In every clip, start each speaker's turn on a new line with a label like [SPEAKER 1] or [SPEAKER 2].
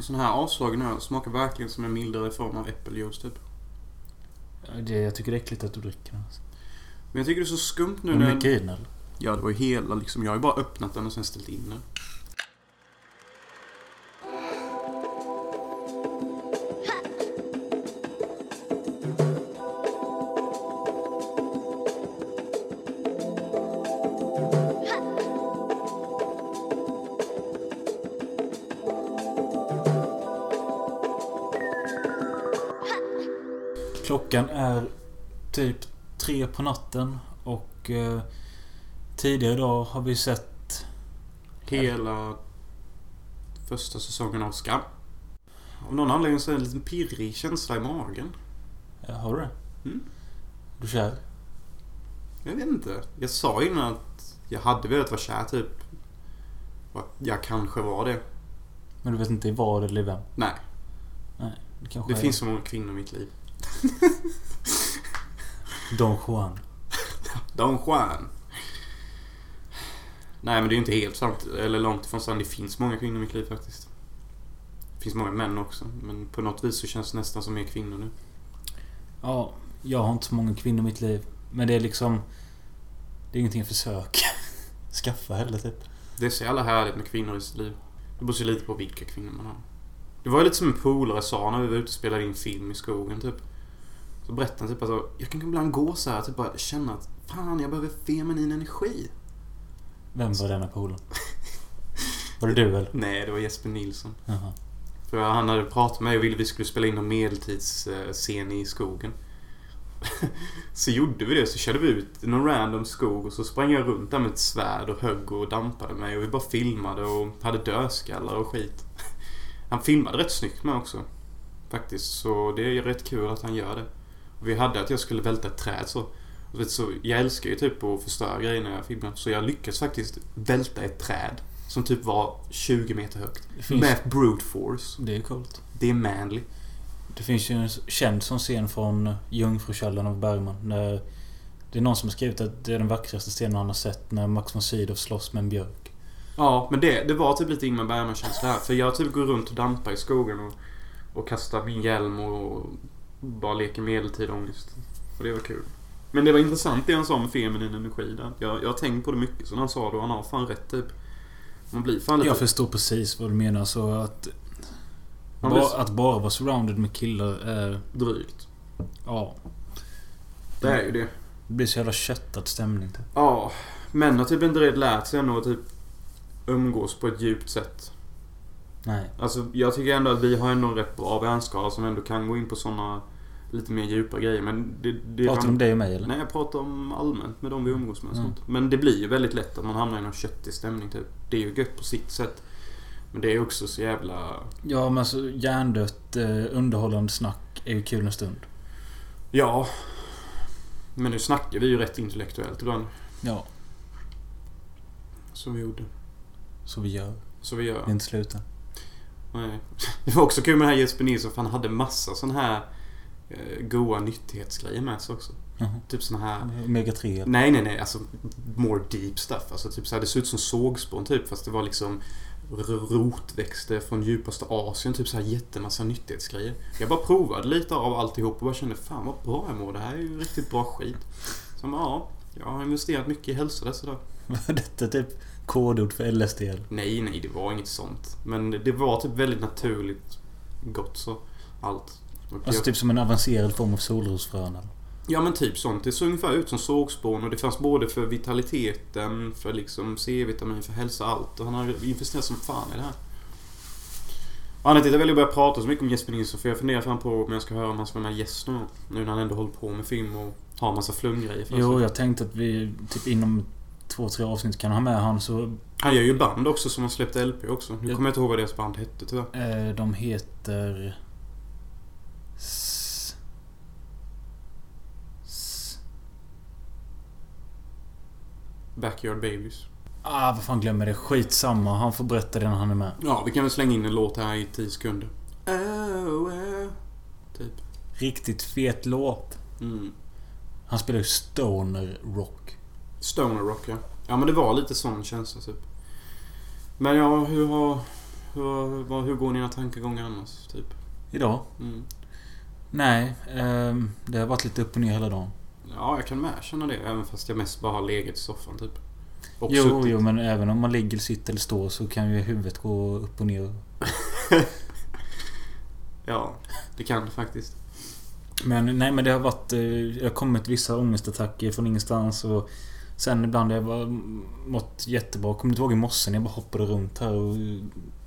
[SPEAKER 1] Sån här avslagen öl smakar verkligen som en mildare form av äppeljuice typ.
[SPEAKER 2] Det, jag tycker det är äckligt att du dricker den. Alltså.
[SPEAKER 1] Men jag tycker det är så skumt nu
[SPEAKER 2] Men
[SPEAKER 1] när...
[SPEAKER 2] mycket i den eller?
[SPEAKER 1] Ja, det var ju hela liksom. Jag har ju bara öppnat den och sen ställt in den.
[SPEAKER 2] Klockan är typ tre på natten och eh, tidigare idag har vi sett...
[SPEAKER 1] Hela första säsongen av Skam. Av någon anledning så är det en liten pirrig känsla i magen.
[SPEAKER 2] Ja, har du det?
[SPEAKER 1] Mm.
[SPEAKER 2] Du kär?
[SPEAKER 1] Jag vet inte. Jag sa innan att jag hade velat vara kär typ. Och att jag kanske var det.
[SPEAKER 2] Men du vet inte i vad eller i vem?
[SPEAKER 1] Nej.
[SPEAKER 2] Det, kanske
[SPEAKER 1] Det
[SPEAKER 2] är
[SPEAKER 1] finns så många kvinnor i mitt liv.
[SPEAKER 2] Don Juan.
[SPEAKER 1] Don Juan. Nej men det är ju inte helt sant. Eller långt ifrån sant. Det finns många kvinnor i mitt liv faktiskt. Det finns många män också. Men på något vis så känns det nästan som mer kvinnor nu.
[SPEAKER 2] Ja, jag har inte så många kvinnor i mitt liv. Men det är liksom... Det är ingenting jag försöker skaffa heller typ.
[SPEAKER 1] Det är så jävla härligt med kvinnor i sitt liv. Det beror ju lite på vilka kvinnor man har. Det var ju lite som en polare sa när vi var ute och spelade in film i skogen typ. Så berättade han typ att jag kan ibland gå så här typ bara känna att fan jag behöver feminin energi.
[SPEAKER 2] Vem var denna polen? Var det du eller?
[SPEAKER 1] Nej, det var Jesper Nilsson.
[SPEAKER 2] Jaha.
[SPEAKER 1] För han hade pratat med mig och ville vi skulle spela in en medeltidsscen i skogen. så gjorde vi det, så körde vi ut i någon random skog och så sprang jag runt där med ett svärd och högg och dampade mig och vi bara filmade och hade dödskallar och skit. Han filmade rätt snyggt med också. Faktiskt, så det är rätt kul att han gör det. Och vi hade att jag skulle välta ett träd så. Och vet, så jag älskar ju typ att förstöra grejer när jag filmar. Så jag lyckades faktiskt välta ett träd som typ var 20 meter högt.
[SPEAKER 2] Det finns-
[SPEAKER 1] Med brute force.
[SPEAKER 2] Det är ju coolt.
[SPEAKER 1] Det är manly.
[SPEAKER 2] Det finns ju en s- känd sån scen från Jungfrukällan av Bergman. När det är någon som har skrivit att det är den vackraste scenen han har sett när Max von Sydow slåss med en björk.
[SPEAKER 1] Ja, men det, det var typ lite Ingmar Bergman-känsla här. För jag typ går runt och dampar i skogen och, och kastar min hjälm och bara leker medeltida ångest. Och det var kul. Men det var intressant det han sa om feminin energi där. Jag, jag har tänkt på det mycket sen han sa det och han har fan rätt typ. Man blir fan lite...
[SPEAKER 2] Jag förstår precis vad du menar så att...
[SPEAKER 1] Ja,
[SPEAKER 2] Bara,
[SPEAKER 1] visst.
[SPEAKER 2] att bara vara surrounded med killar är...
[SPEAKER 1] drygt.
[SPEAKER 2] Ja.
[SPEAKER 1] Det är ju det.
[SPEAKER 2] Det blir så jävla köttad stämning. Typ.
[SPEAKER 1] Ja, män har typ inte redan lärt sig ändå att typ umgås på ett djupt sätt.
[SPEAKER 2] Nej.
[SPEAKER 1] Alltså jag tycker ändå att vi har ändå en rätt bra vänskara som ändå kan gå in på såna lite mer djupa grejer. Men det... det
[SPEAKER 2] Pratar du om dig och mig eller?
[SPEAKER 1] Nej, jag pratar om allmänt med de vi umgås med. och
[SPEAKER 2] Mm.
[SPEAKER 1] Sånt. Men det blir ju väldigt lätt att man hamnar i någon köttig stämning typ. Det är ju gött på sitt sätt. Men det är också så jävla...
[SPEAKER 2] Ja, men alltså hjärndött eh, underhållande snack är ju kul en stund.
[SPEAKER 1] Ja. Men nu snackar vi ju rätt intellektuellt ibland.
[SPEAKER 2] Ja.
[SPEAKER 1] Som vi gjorde.
[SPEAKER 2] Så vi gör.
[SPEAKER 1] Så vi gör.
[SPEAKER 2] Vi är inte slut än.
[SPEAKER 1] Nej. Det var också kul med den här Jesper Nilsson för han hade massa sån här eh, goa nyttighetsgrejer med sig också.
[SPEAKER 2] Jaha.
[SPEAKER 1] Typ sån här...
[SPEAKER 2] Omega 3 eller?
[SPEAKER 1] Nej, nej, nej. Alltså more deep stuff. Alltså typ så här, det såg ut som sågspån typ fast det var liksom r- rotväxter från djupaste Asien. Typ så här jättemassa nyttighetsgrejer. Jag bara provade lite av alltihop och bara kände fan vad bra jag mår. Det här är ju riktigt bra skit. Så jag bara, ja, jag har investerat mycket i hälsa dessa dagar.
[SPEAKER 2] Var detta typ kodord för LSD eller?
[SPEAKER 1] Nej, nej, det var inget sånt. Men det var typ väldigt naturligt gott så. Allt. Och
[SPEAKER 2] Alltså
[SPEAKER 1] jag-
[SPEAKER 2] typ som en avancerad form av solrosfrön eller?
[SPEAKER 1] Ja men typ sånt. Det såg ungefär ut som sågspån och det fanns både för vitaliteten, för liksom C-vitamin, för hälsa, allt. Och han har investerat som fan i det här. Och anledningen till att jag väljer att börja prata så mycket om Jesper Nilsson för jag funderar fram på om jag ska höra om han ska vara med gäst nu. Nu när han ändå håller på med film och har en massa flumgrejer för
[SPEAKER 2] Jo,
[SPEAKER 1] sig.
[SPEAKER 2] jag tänkte att vi typ inom två, tre avsnitt kan ha med han så...
[SPEAKER 1] Han gör ju band också som har släppt LP också. Nu
[SPEAKER 2] Ja.
[SPEAKER 1] kommer jag inte ihåg vad deras band hette tyvärr.
[SPEAKER 2] Eh, de heter... S... S...
[SPEAKER 1] Backyard Babies.
[SPEAKER 2] Ah, vad fan glömmer det. Skitsamma. Han får berätta det när han är med.
[SPEAKER 1] Ja, vi kan väl slänga in en låt här i 10 sekunder. Oh, eh. Typ.
[SPEAKER 2] Riktigt fet låt.
[SPEAKER 1] Mm.
[SPEAKER 2] Han spelar ju stoner rock.
[SPEAKER 1] Stoner rock, ja. Ja, men det var lite sån känsla, typ. Men ja, hur har, Hur, vad- hur går dina tankegångar annars? Typ?
[SPEAKER 2] Idag?
[SPEAKER 1] Mm.
[SPEAKER 2] Nej, ehm, det har varit lite upp och ner hela dagen.
[SPEAKER 1] Ja, jag kan med känna det. Även fast jag mest bara har legat i soffan typ. Och
[SPEAKER 2] Jo,
[SPEAKER 1] suttit.
[SPEAKER 2] jo, men även om man ligger, sitter eller står så kan ju huvudet gå upp och ner.
[SPEAKER 1] Ja, det kan det faktiskt.
[SPEAKER 2] Men nej, men det har varit... eh, Jag har kommit vissa ångestattacker från ingenstans och... Sen ibland har jag bara mått jättebra. Kommer inte ihåg i morse när jag bara hoppade runt här och... eh,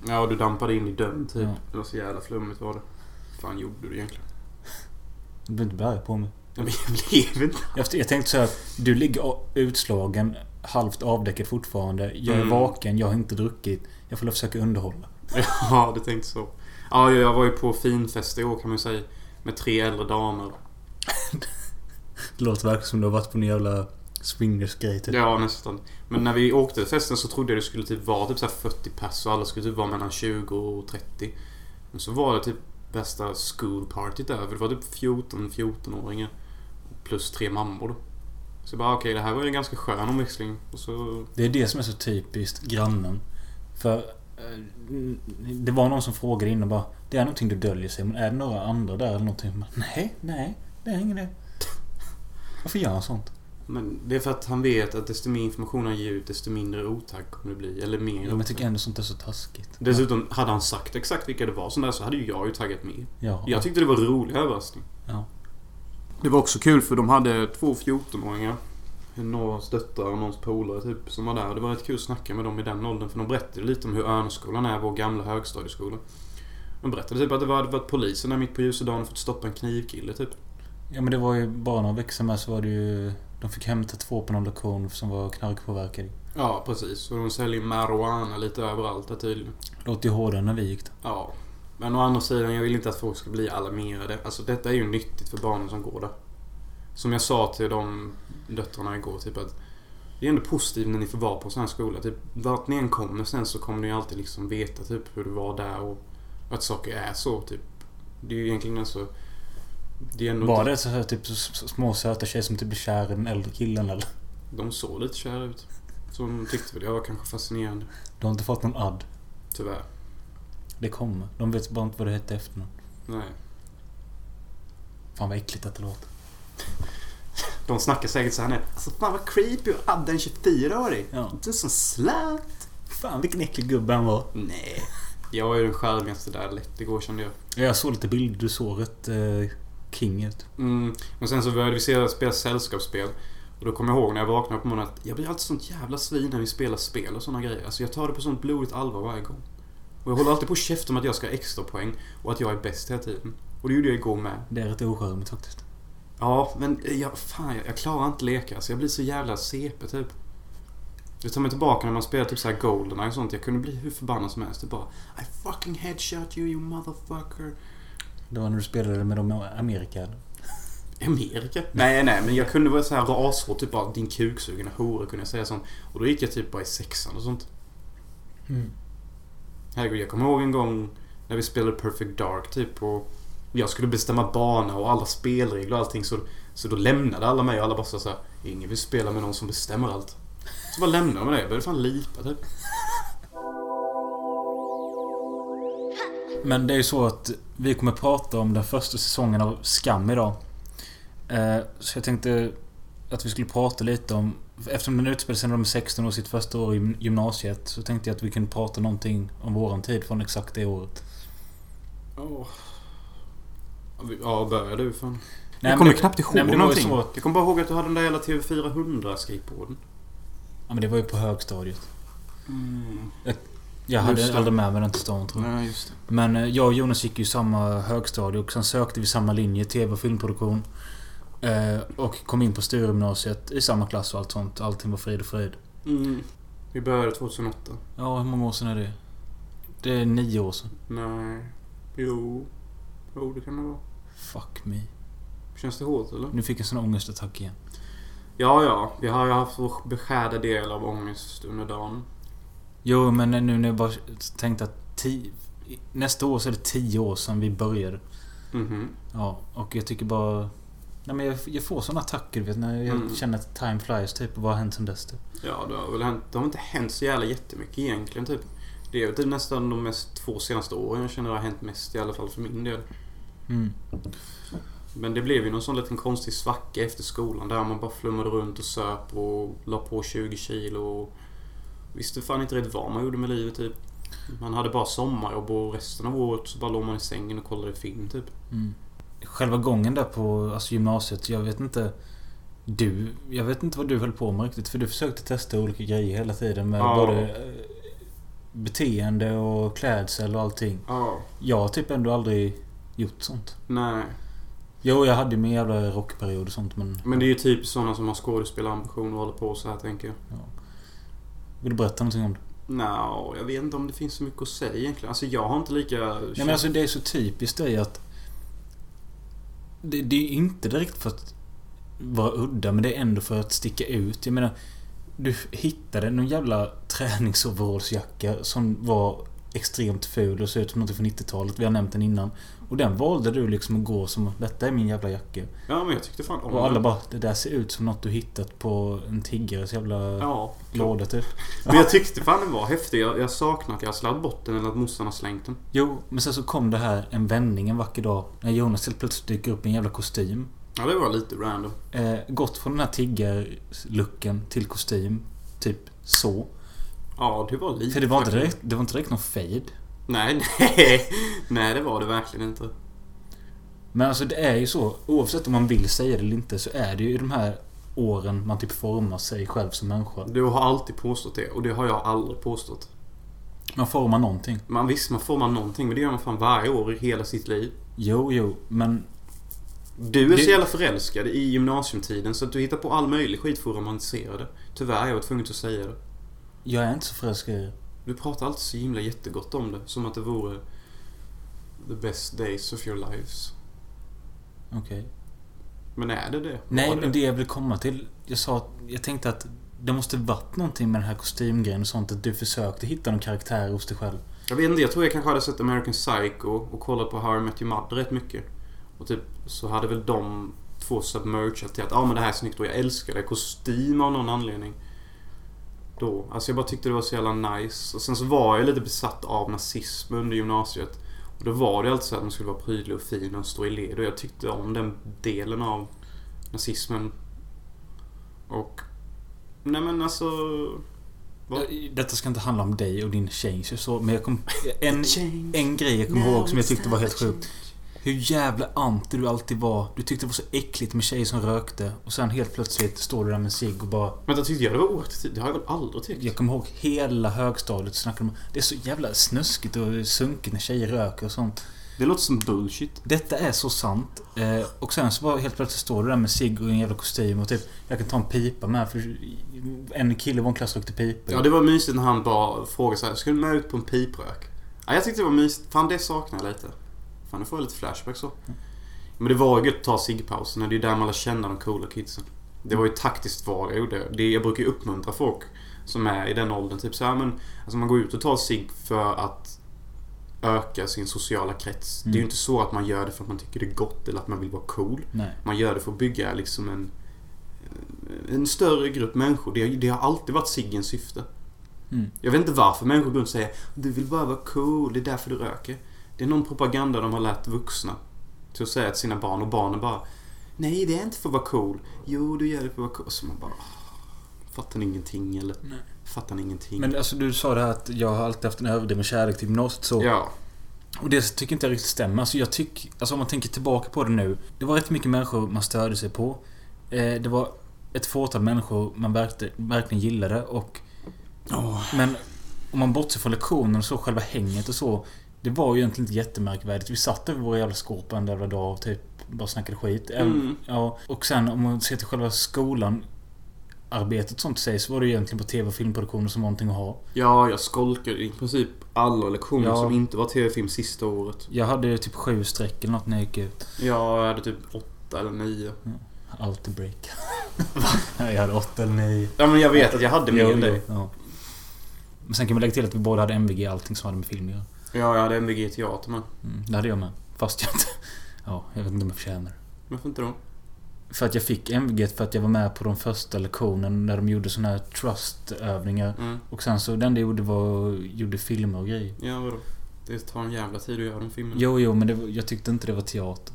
[SPEAKER 1] Ja, och du dampade in i dörren typ.
[SPEAKER 2] Ja.
[SPEAKER 1] Det var så jävla flummigt var det. Vad fan gjorde du egentligen?
[SPEAKER 2] Du behöver inte bära på mig.
[SPEAKER 1] Ja, men Jag blev inte...
[SPEAKER 2] Jag, jag tänkte så här, Du ligger a- utslagen, halvt avdäckad fortfarande. Jag är
[SPEAKER 1] Mm.
[SPEAKER 2] vaken, jag har inte druckit. Jag får försöka underhålla.
[SPEAKER 1] Ja, du tänkte så. Ja, jag var ju på finfest i år kan man ju säga. Med tre äldre damer.
[SPEAKER 2] Det låter verkligen som du har varit på en jävla swingersgrej typ.
[SPEAKER 1] Ja, nästan. Men när vi åkte till festen så trodde jag det skulle typ vara typ så här 40 pers och alla skulle typ vara mellan 20 och 30. Men så var det typ bästa schoolpartyt där, för det var typ 14 14-åringar. Plus tre mammor då. Så jag bara okej, det här var ju en ganska skön omväxling. Och så...
[SPEAKER 2] Det är det som är så typiskt grannen. För eh, det var någon som frågade in och bara Det är någonting du döljer sig men är det några andra där eller någonting? Jag bara, nej, nej, det är ingen det. Varför gör han sånt?
[SPEAKER 1] Men det är för att han vet att desto mer information han ger ut, desto mindre otack kommer det bli. Eller mer
[SPEAKER 2] Ja, men jag
[SPEAKER 1] otack.
[SPEAKER 2] tycker ändå sånt är så taskigt.
[SPEAKER 1] Dessutom, hade han sagt exakt vilka det var som där så hade ju jag ju taggat med.
[SPEAKER 2] Ja.
[SPEAKER 1] Jag tyckte det var en rolig överraskning.
[SPEAKER 2] Ja.
[SPEAKER 1] Det var också kul för de hade två 14-åringar. Någons döttrar och någons polare typ som var där. Det var rätt kul att snacka med dem i den åldern för de berättade lite om hur Örnskolan är, vår gamla högstadieskola. De berättade typ att det var- hade varit polisen där mitt på ljusa dagen och fått stoppa en knivkille typ.
[SPEAKER 2] ja men det var ju bara några veckor med så var det ju De fick hämta två på någon lektion som var knarkpåverkade.
[SPEAKER 1] Ja, precis. Och de säljer marijuana lite överallt där tydligen.
[SPEAKER 2] Låter ju hårdare när vi gick där.
[SPEAKER 1] Ja. Men å andra sidan, jag vill inte att folk ska bli alarmerade. Alltså detta är ju nyttigt för barnen som går där. Som jag sa till de döttrarna igår, typ att det är ändå positivt när ni får vara på en sån här skola. Typ, vart ni än kommer sen så kommer ni alltid liksom veta typ hur det var där och att saker är så. Typ. Det är ju egentligen alltså... Det är ändå
[SPEAKER 2] Var
[SPEAKER 1] inte-
[SPEAKER 2] det så här, typ så- så- små söta tjejer som typ blir kär i den äldre killen eller?
[SPEAKER 1] De såg lite kära ut. Så de tyckte väl jag var kanske fascinerande.
[SPEAKER 2] Du har inte fått någon add?
[SPEAKER 1] Tyvärr.
[SPEAKER 2] Det kommer. De vet bara inte vad det hette efter nu.
[SPEAKER 1] Nej.
[SPEAKER 2] Fan vad äckligt att det låter.
[SPEAKER 1] De snackar säkert såhär nu. Alltså fan vad creepy och adda en 24-åring.
[SPEAKER 2] Ja.
[SPEAKER 1] Du är som slät.
[SPEAKER 2] Fan vilken äcklig gubbe han var.
[SPEAKER 1] Nej. Jag är ju den charmigaste där lätt igår kände jag.
[SPEAKER 2] Jag såg lite bilder. Du såg rätt eh, king ut.
[SPEAKER 1] Mm. Men sen så började vi se- spela sällskapsspel. Och då kommer jag ihåg när jag vaknade på morgonen att jag blir alltid sånt jävla svin när vi spelar spel och såna grejer. Alltså jag tar det på sånt blodigt allvar varje gång. Och jag håller alltid på och käftar om att jag ska ha extra poäng och att jag är bäst hela tiden. Och det gjorde jag igår med.
[SPEAKER 2] Det är rätt ocharmigt faktiskt.
[SPEAKER 1] Ja, men jag, fan, jag, jag klarar inte leka. Alltså jag blir så jävla CP typ. Jag tar mig tillbaka när man spelar typ såhär Goldeneye och sånt. Jag kunde bli hur förbannad som helst. Det bara I fucking headshot you you motherfucker.
[SPEAKER 2] Det var när du spelade med dem i Amerika. eller?
[SPEAKER 1] Amerika? Nej, nej, men jag kunde vara så här rashård. Typ bara din kuksugna hora kunde jag säga sånt. Och då gick jag typ bara i sexan och sånt.
[SPEAKER 2] Mm.
[SPEAKER 1] Herregud, jag kommer ihåg en gång när vi spelade Perfect Dark typ och jag skulle bestämma bana och alla spelregler och allting så, så då lämnade alla mig och alla bara sa så här, Ingen vill spela med någon som bestämmer allt. Så bara lämnade de mig där. Jag började fan lipa typ.
[SPEAKER 2] Men det är ju så att vi kommer prata om den första säsongen av Skam idag. Eh, så jag tänkte att vi skulle prata lite om... Eftersom den utspelar sig när de är 16 och sitt första år i gym- gymnasiet så tänkte jag att vi kunde prata någonting om våran tid från exakt det året.
[SPEAKER 1] Åh. Ja, börja du fan.
[SPEAKER 2] Nej, men
[SPEAKER 1] jag kommer
[SPEAKER 2] det-
[SPEAKER 1] knappt ihåg
[SPEAKER 2] nej, men det var ju
[SPEAKER 1] någonting.
[SPEAKER 2] så att-
[SPEAKER 1] Jag kommer bara ihåg att du hade den där jävla TV400-skateboarden.
[SPEAKER 2] Ja men det var ju på högstadiet.
[SPEAKER 1] Mm.
[SPEAKER 2] Jag hade
[SPEAKER 1] Just det.
[SPEAKER 2] aldrig med mig den till stan tror jag.
[SPEAKER 1] Nej, just det.
[SPEAKER 2] Men eh, jag och Jonas gick ju i samma högstadie och sen sökte vi samma linje, TV och filmproduktion. Eh, Och kom in på Sturegymnasiet i samma klass och allt sånt. Allting var frid och fröjd.
[SPEAKER 1] Mm. Vi började 2008.
[SPEAKER 2] Ja, hur många år sedan är det? Det är nio år sedan.
[SPEAKER 1] Nej. Jo. Jo, det kan det vara.
[SPEAKER 2] Fuck me.
[SPEAKER 1] Känns det hårt eller?
[SPEAKER 2] Nu fick jag en sån ångestattack igen.
[SPEAKER 1] Ja, ja. Vi har ju haft vår beskärda del av ångest under dagen.
[SPEAKER 2] Jo, men eh, nu när jag bara tänkte att ti- nästa år så är det tio år sedan vi började.
[SPEAKER 1] Mhm.
[SPEAKER 2] Ja, och jag tycker bara... Nej men jag, jag får såna attacker du vet när jag
[SPEAKER 1] Mm.
[SPEAKER 2] känner att time flies typ. Och vad har hänt sen dess typ?
[SPEAKER 1] Ja, det har väl hänt. Det har inte hänt så jävla jättemycket egentligen typ. Det Det är väl typ nästan de mest två senaste åren jag känner det har hänt mest i alla fall för min del.
[SPEAKER 2] Mm.
[SPEAKER 1] Men det blev ju någon sån liten konstig svacka efter skolan där man bara flummade runt och söp och la på 20 kilo och visste fan inte riktigt vad man gjorde med livet typ. Man hade bara sommarjobb och resten av året så bara låg man i sängen och kollade film typ.
[SPEAKER 2] Mm. Själva gången där på alltså gymnasiet, jag vet inte... Du, jag vet inte vad du höll på med riktigt. För du försökte testa olika grejer hela tiden med
[SPEAKER 1] Ja.
[SPEAKER 2] både eh, beteende och klädsel och allting.
[SPEAKER 1] Ja.
[SPEAKER 2] Jag har typ ändå aldrig gjort sånt.
[SPEAKER 1] Nej.
[SPEAKER 2] Jo, jag hade min jävla rockperiod och sånt men...
[SPEAKER 1] Men det är ju typ sådana som har skådespelarambitioner och håller på så här tänker jag.
[SPEAKER 2] Vill du berätta någonting om det?
[SPEAKER 1] Nja, jag vet inte om det finns så mycket att säga egentligen. Alltså jag har inte lika...
[SPEAKER 2] Nej men alltså det är så typiskt dig att... Det, det är inte direkt för att vara udda men det är ändå för att sticka ut. Jag menar... Du hittade någon jävla träningsoverallsjacka som var extremt ful och såg ut som något från 90-talet. Vi har nämnt den innan. Och den valde du liksom att gå som Detta är min jävla jacka.
[SPEAKER 1] Ja men jag tyckte fan om
[SPEAKER 2] Och alla
[SPEAKER 1] den.
[SPEAKER 2] bara Det där ser ut som något du hittat på en tiggares jävla
[SPEAKER 1] Ja.
[SPEAKER 2] låda typ.
[SPEAKER 1] Men jag tyckte fan den var häftig. Jag, jag saknar att jag har slarvat bort den eller att morsan har slängt den.
[SPEAKER 2] Jo, men sen så kom det här en vändning en vacker dag. När Jonas helt plötsligt dyker upp i en jävla kostym.
[SPEAKER 1] Ja, det var lite random.
[SPEAKER 2] Eh, gått från den här tiggarlucken till kostym. Typ så.
[SPEAKER 1] Ja, det var lite...
[SPEAKER 2] För det var inte
[SPEAKER 1] faktiskt.
[SPEAKER 2] direkt, det var inte direkt någon fade.
[SPEAKER 1] Nej, nej. Nej, det var det verkligen inte.
[SPEAKER 2] Men alltså det är ju så. Oavsett om man vill säga det eller inte så är det ju i de här åren man typ formar sig själv som människa.
[SPEAKER 1] Du har alltid påstått det och det har jag aldrig påstått.
[SPEAKER 2] Man formar någonting.
[SPEAKER 1] Man visst, man formar någonting men det gör man fan varje år i hela sitt liv.
[SPEAKER 2] Jo, jo, men...
[SPEAKER 1] Du är
[SPEAKER 2] Det-
[SPEAKER 1] så jävla förälskad i gymnasiumtiden så att du hittar på all möjlig skit för att romantisera det. Tyvärr, jag var tvungen att säga det.
[SPEAKER 2] Jag är inte så förälskad i det.
[SPEAKER 1] Du pratar alltid så himla jättegott om det. Som att det vore the best days of your lives.
[SPEAKER 2] Okej.
[SPEAKER 1] Men är det det?
[SPEAKER 2] Nej,
[SPEAKER 1] Var
[SPEAKER 2] men det jag vill komma till. Jag sa att... Jag tänkte att det måste varit någonting med den här kostymgrejen och sånt. Att du försökte hitta någon karaktär hos dig själv.
[SPEAKER 1] Jag vet inte, jag tror jag kanske hade sett American Psycho och kollat på How I Met Your Mother rätt mycket. Och typ så hade väl de två submergat till att ja ah, men det här är snyggt och jag älskar det. Kostym av någon anledning. Då. Alltså jag bara tyckte det var så jävla nice. Och sen så var jag lite besatt av nazism under gymnasiet. Och då var det alltid så att man skulle vara prydlig och fin och stå i led. Och jag tyckte om den delen av nazismen. Och... Nej men alltså... Va?
[SPEAKER 2] Detta ska inte handla om dig och din change och så, men jag kom... En,
[SPEAKER 1] Change.
[SPEAKER 2] en grej jag kommer
[SPEAKER 1] Now
[SPEAKER 2] ihåg som jag
[SPEAKER 1] it's
[SPEAKER 2] tyckte var helt
[SPEAKER 1] time to
[SPEAKER 2] sjukt. Hur jävla anti du alltid var. Du tyckte det var så äckligt med tjejer som rökte och sen helt plötsligt står du där med en cigg och bara...
[SPEAKER 1] Men då tyckte jag det var oattraktivt. Det har jag väl aldrig tyckt?
[SPEAKER 2] Jag kommer ihåg hela högstadiet snackade om Det är så jävla snuskigt och sunkigt när tjejer röker och sånt.
[SPEAKER 1] Det låter som bullshit.
[SPEAKER 2] Detta är så sant. Eh, och sen så bara helt plötsligt står du där med cigg och en jävla kostym och typ... Jag kan ta en pipa med för en kille i vår klass rökte pipor.
[SPEAKER 1] Ja, det var mysigt när han bara frågade så här, ska du med ut på en piprök? Ja, jag tyckte det var mysigt. Fan, det saknar jag lite. Fan, nu får jag lite flashback så. Men det var ju gött att ta ciggpauserna. Det är ju där man lär känna de coola kidsen. Det var ju taktiskt vad jag gjorde. Det, jag brukar ju uppmuntra folk som är i den åldern. Typ så här, men alltså man går ut och tar cigg för att öka sin sociala krets. Det är ju
[SPEAKER 2] Mm.
[SPEAKER 1] inte så att man gör det för att man tycker det är gott eller att man vill vara cool.
[SPEAKER 2] Nej.
[SPEAKER 1] Man gör det för att bygga liksom en, en större grupp människor. Det, det har alltid varit ciggens syfte.
[SPEAKER 2] Mm.
[SPEAKER 1] Jag vet inte varför människor går runt och säger du vill bara vara cool, det är därför du röker. Det är någon propaganda de har lärt vuxna. Till att säga till sina barn och barnen bara Nej, det är inte för att vara cool. Jo, du gör det för att vara cool. Så man bara "Ah, Fattar ni ingenting eller?
[SPEAKER 2] Nej.
[SPEAKER 1] Fattar ni ingenting?
[SPEAKER 2] Men alltså du sa det här att jag har alltid haft en överdriven kärlek till gymnasiet så.
[SPEAKER 1] ja.
[SPEAKER 2] Och det tycker inte jag riktigt stämmer. Alltså jag tycker... Alltså om man tänker tillbaka på det nu. Det var rätt mycket människor man störde sig på. Eh, det var ett fåtal människor man verkte, verkligen gillade och... Men om man bortser från lektionen och så, själva hänget och så. Det var ju egentligen inte jättemärkvärdigt. Vi satt över våra jävla skåp en jävla dag och typ bara snackade skit. Även-
[SPEAKER 1] Mm.
[SPEAKER 2] Ja, och sen om man ser till själva skolan arbetet sånt sägs så var det ju egentligen på TV och filmproduktioner som var någonting att ha.
[SPEAKER 1] ja, jag skolkade i princip alla lektioner
[SPEAKER 2] Ja.
[SPEAKER 1] som inte var tv-film sista året.
[SPEAKER 2] Jag hade ju typ sju streck eller något när jag gick ut.
[SPEAKER 1] Jag hade typ åtta eller nio.
[SPEAKER 2] Alltid break. Va? Jag hade åtta eller nio.
[SPEAKER 1] Ja, men jag vet att jag hade mer än dig.
[SPEAKER 2] Ja. Men sen kan man lägga till att vi båda hade MVG allting som hade med film att göra.
[SPEAKER 1] Ja, jag hade MVG i teater men.
[SPEAKER 2] Mm, det hade jag med. Fast jag inte... Ja, jag vet inte om jag förtjänar det.
[SPEAKER 1] Varför inte då?
[SPEAKER 2] För att jag fick MVG för att jag var med på de första lektionerna när de gjorde såna här trust-övningar.
[SPEAKER 1] Mm.
[SPEAKER 2] Och sen så det enda jag gjorde var gjorde filmer och grejer.
[SPEAKER 1] Ja, vadå? Det tar en jävla tid att göra de filmerna.
[SPEAKER 2] Jo, jo, men det, var- jag tyckte inte det var teater.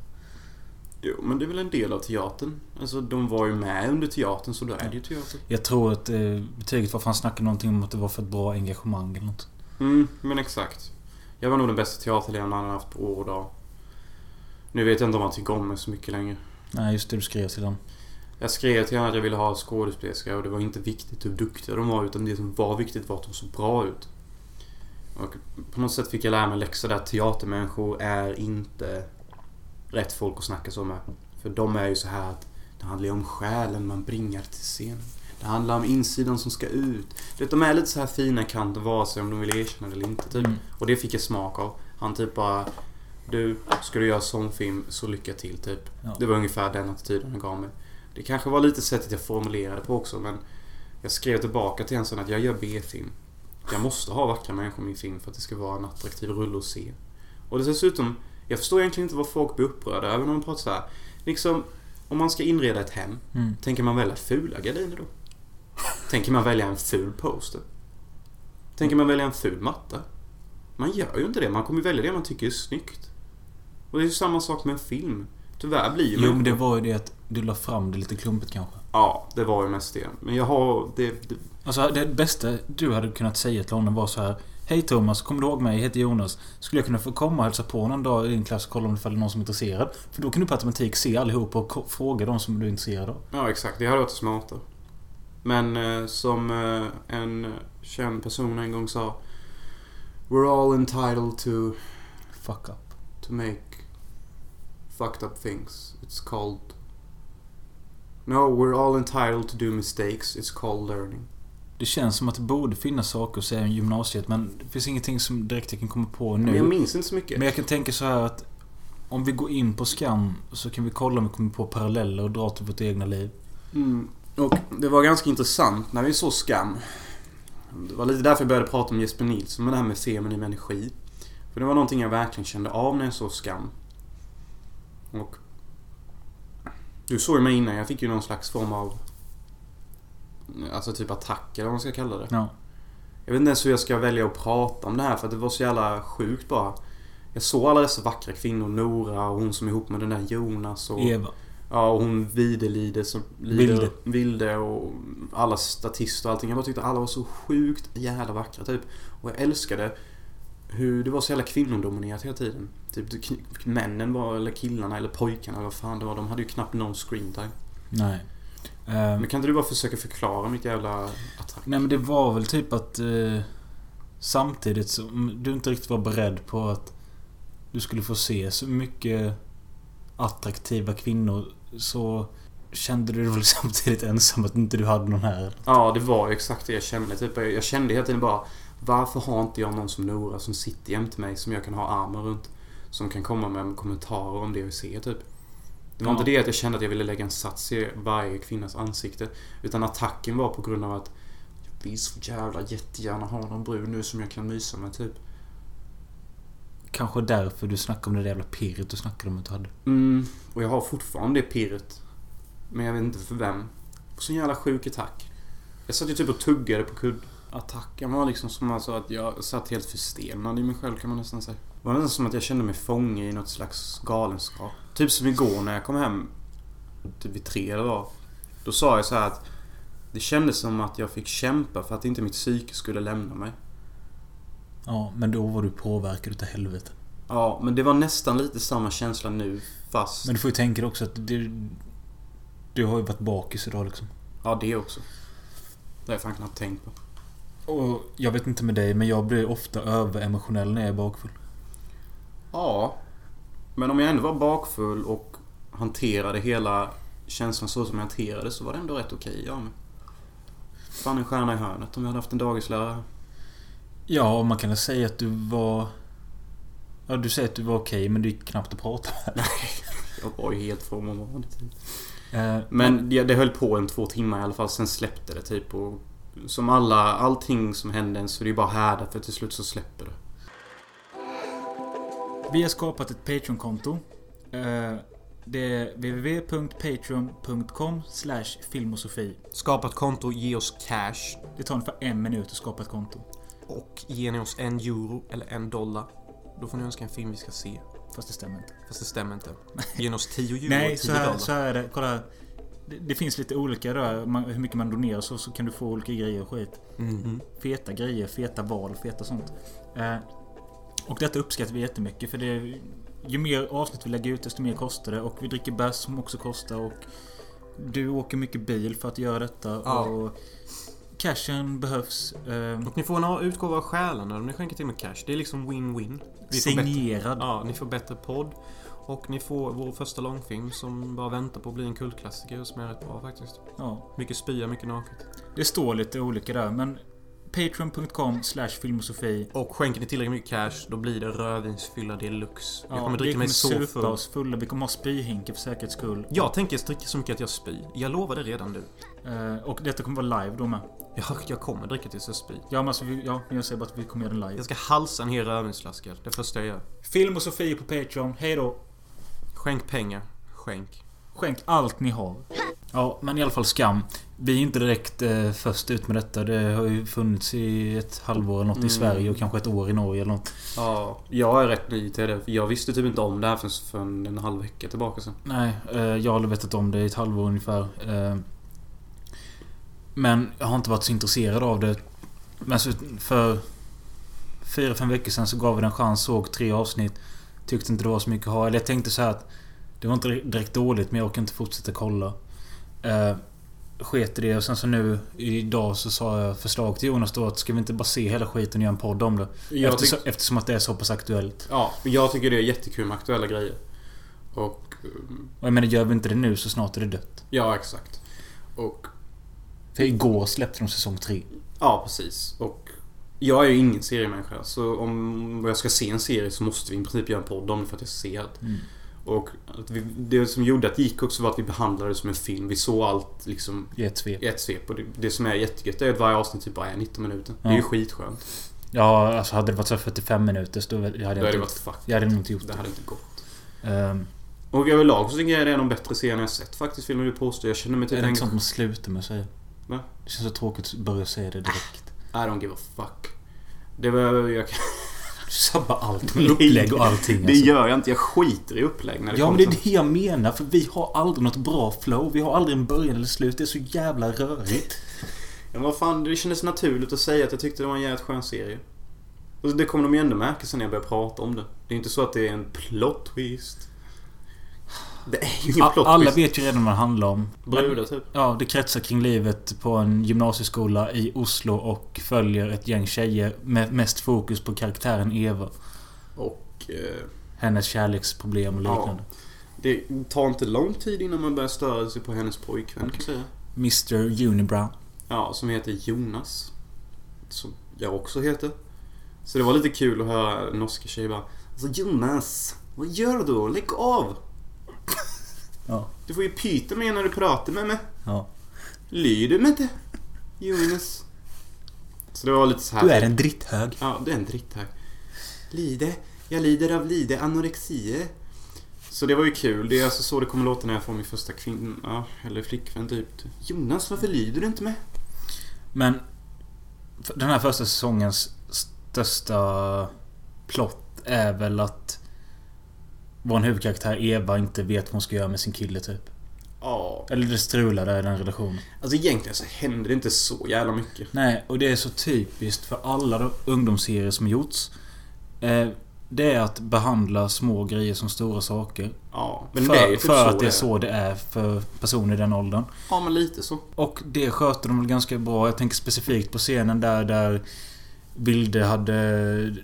[SPEAKER 1] Jo, men det är väl en del av teatern. Alltså, de var ju med under teatern, så då är det ju teater.
[SPEAKER 2] Jag tror att eh, betyget var för han snackade någonting om att det var för ett bra engagemang eller något.
[SPEAKER 1] Mm, men exakt. Jag var nog den bästa teaterledaren han har haft på år och dag. Nu vet jag inte om han tycker om mig så mycket längre.
[SPEAKER 2] Nej, just det du skrev till honom.
[SPEAKER 1] Jag skrev till honom att jag ville ha skådespelerska och det var inte viktigt hur duktiga de var utan det som var viktigt var att de såg bra ut. Och på något sätt fick jag lära mig en läxa där att teatermänniskor är inte rätt folk att snacka så med. För de är ju så här att det handlar ju om själen man bringar till scenen. Det handlar om insidan som ska ut. Du vet, de är lite så här fina kanter vare sig om de vill erkänna det eller inte. Typ.
[SPEAKER 2] Mm.
[SPEAKER 1] Och det fick jag smak av. Han typ bara... Du, ska du göra sån film så lycka till typ.
[SPEAKER 2] Ja.
[SPEAKER 1] Det var ungefär den attityden han gav mig. Det kanske var lite sättet jag formulerade på också men jag skrev tillbaka till en sån att jag gör B-film. Jag måste ha vackra människor i min film för att det ska vara en attraktiv rulle att se. Och dessutom, jag förstår egentligen inte vad folk blir upprörda över när de pratar så här. Liksom, om man ska inreda ett hem,
[SPEAKER 2] Mm.
[SPEAKER 1] tänker man välja fula gardiner då? Tänker man välja en ful poster? Tänker man välja en ful matta? Man gör ju inte det. Man kommer ju välja det man tycker är snyggt. Och det är ju samma sak med en film. Tyvärr blir ju
[SPEAKER 2] Jo, men
[SPEAKER 1] människor-
[SPEAKER 2] det var ju det att du la fram det lite klumpigt kanske.
[SPEAKER 1] Ja, det var ju mest det. Men jag har... Det, det,
[SPEAKER 2] Alltså det bästa du hade kunnat säga till honom var så här. Hej Thomas, kommer du ihåg mig? Jag heter Jonas. Skulle jag kunna få komma och hälsa på någon dag i din klass och kolla om det är någon som är intresserad? För då kan du på automatik se allihop och ko- fråga de som du är intresserad av.
[SPEAKER 1] ja, exakt. Det hade varit smartare. Men eh, som eh, en känd person en gång sa... We're all entitled to,
[SPEAKER 2] Fuck up.
[SPEAKER 1] to make fucked up things. It's called... No, we're all entitled to do mistakes. It's called learning.
[SPEAKER 2] Det känns som att det borde finnas saker att säga om gymnasiet men det finns ingenting som direkt jag kan komma på nu.
[SPEAKER 1] Men jag minns inte så mycket.
[SPEAKER 2] Men jag kan tänka så här att om vi går in på skam så kan vi kolla om vi kommer på paralleller och dra till vårt egna liv.
[SPEAKER 1] Mm. Och det var ganska intressant när vi såg Skam. Det var lite därför jag började prata om Jesper Nilsson med det här med feminin energi. För det var någonting jag verkligen kände av när jag såg Skam. Och... Du såg ju mig innan, jag fick ju någon slags form av... Alltså typ attack eller vad man ska kalla det.
[SPEAKER 2] Ja.
[SPEAKER 1] Jag vet inte ens hur jag ska välja att prata om det här för att det var så jävla sjukt bara. Jag såg alla dessa vackra kvinnor, Nora och hon som är ihop med den där Jonas och...
[SPEAKER 2] Eva.
[SPEAKER 1] Ja, och hon Videlider som
[SPEAKER 2] Vilde.
[SPEAKER 1] lider, Vilde och alla statister och allting. Jag bara tyckte alla var så sjukt jävla vackra typ. Och jag älskade hur det var så jävla kvinnodominerat hela tiden. Typ det kn- männen var, eller killarna eller pojkarna eller vad fan det var. De hade ju knappt någon screentime.
[SPEAKER 2] Nej. Eh,
[SPEAKER 1] Men kan inte du bara försöka förklara mitt jävla attack?
[SPEAKER 2] Nej men det var väl typ att eh, Samtidigt som du inte riktigt var beredd på att Du skulle få se så mycket Attraktiva kvinnor Så Kände du dig väl samtidigt ensam att inte du hade någon här?
[SPEAKER 1] Ja, det var ju exakt det jag kände. Typ, jag jag kände hela tiden bara Varför har inte jag någon som Nora som sitter jämte mig som jag kan ha armen runt? Som kan komma med kommentarer om det vi ser typ. Det var
[SPEAKER 2] Ja.
[SPEAKER 1] inte det att jag kände att jag ville lägga en sats i varje kvinnas ansikte. Utan attacken var på grund av att jag vill så jävla jättegärna ha någon brud nu som jag kan mysa med typ.
[SPEAKER 2] Kanske därför du snackade om det där jävla pirret du snackade om att du hade
[SPEAKER 1] Mm, och jag har fortfarande det pirret. Men jag vet inte för vem. Och så en jävla sjuk attack. Jag satt ju typ och tuggade på kudd. Attacken var liksom som alltså att jag satt helt förstenad i mig själv kan man nästan säga. Det var nästan som att jag kände mig fånge i något slags galenskap. Typ som igår när jag kom hem. Typ vid tre eller vad. Då sa jag så här att det kändes som att jag fick kämpa för att inte mitt psyke skulle lämna mig.
[SPEAKER 2] Ja men då var du påverkad utav helvete
[SPEAKER 1] Ja, men det var nästan lite samma känsla nu fast...
[SPEAKER 2] Men du får ju tänka dig också att du Du har ju varit bakis idag liksom
[SPEAKER 1] Ja, det också. Det har jag fan knappt tänkt på.
[SPEAKER 2] Och jag vet inte med dig men jag blir ofta överemotionell när jag är bakfull
[SPEAKER 1] Ja. Men om jag ändå var bakfull och hanterade hela känslan så som jag hanterade så var det ändå rätt okej. Ja, men... Fan en stjärna i hörnet om jag hade haft en dagislärare.
[SPEAKER 2] Ja, man kan väl säga att du var... Ja, du säger att du var okej, men det gick knappt att prata med.
[SPEAKER 1] Jag var ju helt formad vanligt.
[SPEAKER 2] Eh,
[SPEAKER 1] Men det, det höll på en två timmar i alla fall, sen släppte det typ. Och som alla, allting som hände en så är det ju bara härdat för till slut så släpper det.
[SPEAKER 2] Vi har skapat ett Patreon-konto. Eh, Det är www.patreon.com filmosofi.
[SPEAKER 3] Skapa ett konto, ge oss cash.
[SPEAKER 2] Det tar ungefär en minut att skapa ett konto.
[SPEAKER 3] Och ger ni oss en euro eller en dollar, då får ni önska en film vi ska se.
[SPEAKER 2] Fast det stämmer inte.
[SPEAKER 3] Fast det stämmer inte. Ger ni oss 10 euro
[SPEAKER 2] Nej,
[SPEAKER 3] och 10
[SPEAKER 2] så här,
[SPEAKER 3] dollar.
[SPEAKER 2] så här är det. Kolla här. Det, det finns lite olika där. Man, hur mycket man donerar så, så kan du få olika grejer och skit.
[SPEAKER 3] Mhm.
[SPEAKER 2] Feta grejer, feta val, feta sånt. Eh, och detta uppskattar vi jättemycket för det... Ju mer avsnitt vi lägger ut desto mer kostar det och vi dricker bärs som också kostar och... Du åker mycket bil för att göra detta
[SPEAKER 3] Ja.
[SPEAKER 2] och... Cashen behövs. Eh,
[SPEAKER 3] Och ni får en a- utgåva av Själarna om ni skänker till med cash. Det är liksom win-win. Vi får bättre,
[SPEAKER 2] signerad.
[SPEAKER 3] ja, ni får bättre podd. Och ni får vår första långfilm som bara väntar på att bli en kultklassiker som är rätt bra faktiskt.
[SPEAKER 2] Ja.
[SPEAKER 3] Mycket spya, mycket naket.
[SPEAKER 2] Det står lite olika där men... Patreon.com slash filmosofi.
[SPEAKER 3] Och skänker ni tillräckligt mycket cash, då blir det rödvinsfylla deluxe.
[SPEAKER 2] Ja,
[SPEAKER 3] jag kommer dricka mig så
[SPEAKER 2] supa
[SPEAKER 3] full.
[SPEAKER 2] oss fulla. Vi kommer ha spyhinkar för säkerhets skull.
[SPEAKER 3] Jag tänker dricka så mycket att jag spyr. Jag lovar det redan nu.
[SPEAKER 2] Eh, och detta kommer vara live då med.
[SPEAKER 3] Jag, jag kommer dricka tills jag spyr.
[SPEAKER 2] Ja men alltså, vi, ja, men jag säger bara att vi kommer göra den live.
[SPEAKER 3] Jag ska halsa en hel rödvinsflaska. Det första jag gör.
[SPEAKER 2] Film och Sofie på Patreon. Hej då.
[SPEAKER 3] Skänk pengar. Skänk.
[SPEAKER 2] Skänk allt ni har. Ja, men i alla fall skam. Vi är inte direkt eh, först ut med detta. Det har ju funnits i ett halvår eller något i
[SPEAKER 1] Mm.
[SPEAKER 2] Sverige och kanske ett år i Norge eller något.
[SPEAKER 1] Ja, jag är rätt ny till det. för Jag visste typ inte om det här förrän för en halv vecka tillbaka sen.
[SPEAKER 2] Nej, eh, jag har aldrig vetat om det i ett halvår ungefär. Eh, men jag har inte varit så intresserad av det. Men så för fyra, fem veckor sedan så gav vi den en chans, såg tre avsnitt. Tyckte inte det var så mycket att ha. Eller jag tänkte så här att det var inte direkt dåligt men jag orkar inte fortsätta kolla. Eh, sket i det och sen så nu idag så sa jag förslag till Jonas då att ska vi inte bara se hela skiten och göra en podd om det?
[SPEAKER 1] Jag
[SPEAKER 2] Eftersom,
[SPEAKER 1] tyck-
[SPEAKER 2] eftersom att det är så pass aktuellt.
[SPEAKER 1] ja, men jag tycker det är jättekul med aktuella grejer. Och... mm,
[SPEAKER 2] Och jag menar gör vi inte det nu så snart är det dött.
[SPEAKER 1] Ja, exakt. Och...
[SPEAKER 2] För igår släppte de säsong tre.
[SPEAKER 1] Ja, precis. Och... Jag är ju ingen seriemänniska, så om jag ska se en serie så måste vi i princip göra en podd om det för att jag ser det.
[SPEAKER 2] Mm.
[SPEAKER 1] Och att vi, det som gjorde att det gick också var att vi behandlade det som en film. Vi såg allt liksom
[SPEAKER 2] I ett svep.
[SPEAKER 1] i ett svep. Och det, det som är jättegött är att varje avsnitt typ bara är 19 minuter. Det är ju
[SPEAKER 2] Ja.
[SPEAKER 1] skitskönt.
[SPEAKER 2] Ja, alltså hade det varit så här 45 minuter så då hade jag,
[SPEAKER 1] Då hade
[SPEAKER 2] inte,
[SPEAKER 1] det varit fuck.
[SPEAKER 2] jag hade nog inte gjort
[SPEAKER 1] Det
[SPEAKER 2] det.
[SPEAKER 1] hade inte gått.
[SPEAKER 2] Ehm,
[SPEAKER 1] Och överlag så tycker jag det är en av de bättre serierna jag sett faktiskt, vill jag ju påstå. Jag känner mig
[SPEAKER 2] är
[SPEAKER 1] typ
[SPEAKER 2] det
[SPEAKER 1] en...
[SPEAKER 2] inte sånt man slutar med att säga?
[SPEAKER 1] Va?
[SPEAKER 2] Det känns så tråkigt att börja säga det direkt.
[SPEAKER 1] I don't give a fuck. Det var... Jag,
[SPEAKER 2] Du sabbar allt
[SPEAKER 1] Nej.
[SPEAKER 2] med upplägg och allting.
[SPEAKER 1] det
[SPEAKER 2] Alltså.
[SPEAKER 1] gör jag inte. Jag skiter i upplägg när det
[SPEAKER 2] Ja,
[SPEAKER 1] kommer
[SPEAKER 2] men det är
[SPEAKER 1] till-
[SPEAKER 2] det jag menar. För vi har aldrig något bra flow. Vi har aldrig en början eller slut. Det är så jävla rörigt.
[SPEAKER 1] Ja, Men vad fan, det kändes naturligt att säga att jag tyckte det var en jävligt skön serie. Och det kommer de ju ändå märka sen när jag börjar prata om det. Det är inte så att det är en plot twist. Det är ju ingen
[SPEAKER 2] A-
[SPEAKER 1] plot
[SPEAKER 2] Alla
[SPEAKER 1] twist.
[SPEAKER 2] vet ju redan vad det handlar om.
[SPEAKER 1] Brudar typ.
[SPEAKER 2] Ja, det kretsar kring livet på en gymnasieskola i Oslo och följer ett gäng tjejer med mest fokus på karaktären Eva.
[SPEAKER 1] Och... Eh,
[SPEAKER 2] Hennes kärleksproblem och
[SPEAKER 1] Ja.
[SPEAKER 2] liknande.
[SPEAKER 1] det tar inte lång tid innan man börjar störa sig på hennes pojkvän kan jag säga.
[SPEAKER 2] Mr Unibrow.
[SPEAKER 1] Ja, som heter Jonas. Som jag också heter. Så det var lite kul att höra en norska tjej bara Alltså Jonas, vad gör du? Lägg av!
[SPEAKER 2] Ja.
[SPEAKER 1] Du får ju pyta mig när du pratar med mig.
[SPEAKER 2] Ja.
[SPEAKER 1] Lyr du mig inte? Jonas. Så det var lite så här.
[SPEAKER 2] Du är en dritthög.
[SPEAKER 1] Ja, du är en dritthög. Lide. Jag lider av lide anorexie. Så det var ju kul. Det är alltså så det kommer låta när jag får min första kvinna, ja, eller flickvän typ. Jonas, varför lyder du inte mig?
[SPEAKER 2] Men f- den här första säsongens största plott är väl att vår huvudkaraktär Eva inte vet vad hon ska göra med sin kille typ.
[SPEAKER 1] Ja.
[SPEAKER 2] Eller det strular där i den relationen.
[SPEAKER 1] Alltså egentligen så händer det inte så jävla mycket.
[SPEAKER 2] Nej, och det är så typiskt för alla de ungdomsserier som gjorts. Eh, det är att behandla små grejer som stora saker.
[SPEAKER 1] Ja, men
[SPEAKER 2] för
[SPEAKER 1] det är ju typ
[SPEAKER 2] för
[SPEAKER 1] så
[SPEAKER 2] att det är så det är för personer i den åldern.
[SPEAKER 1] Ja, men lite så.
[SPEAKER 2] Och det sköter de väl ganska bra. Jag tänker specifikt på scenen där, där Vilde hade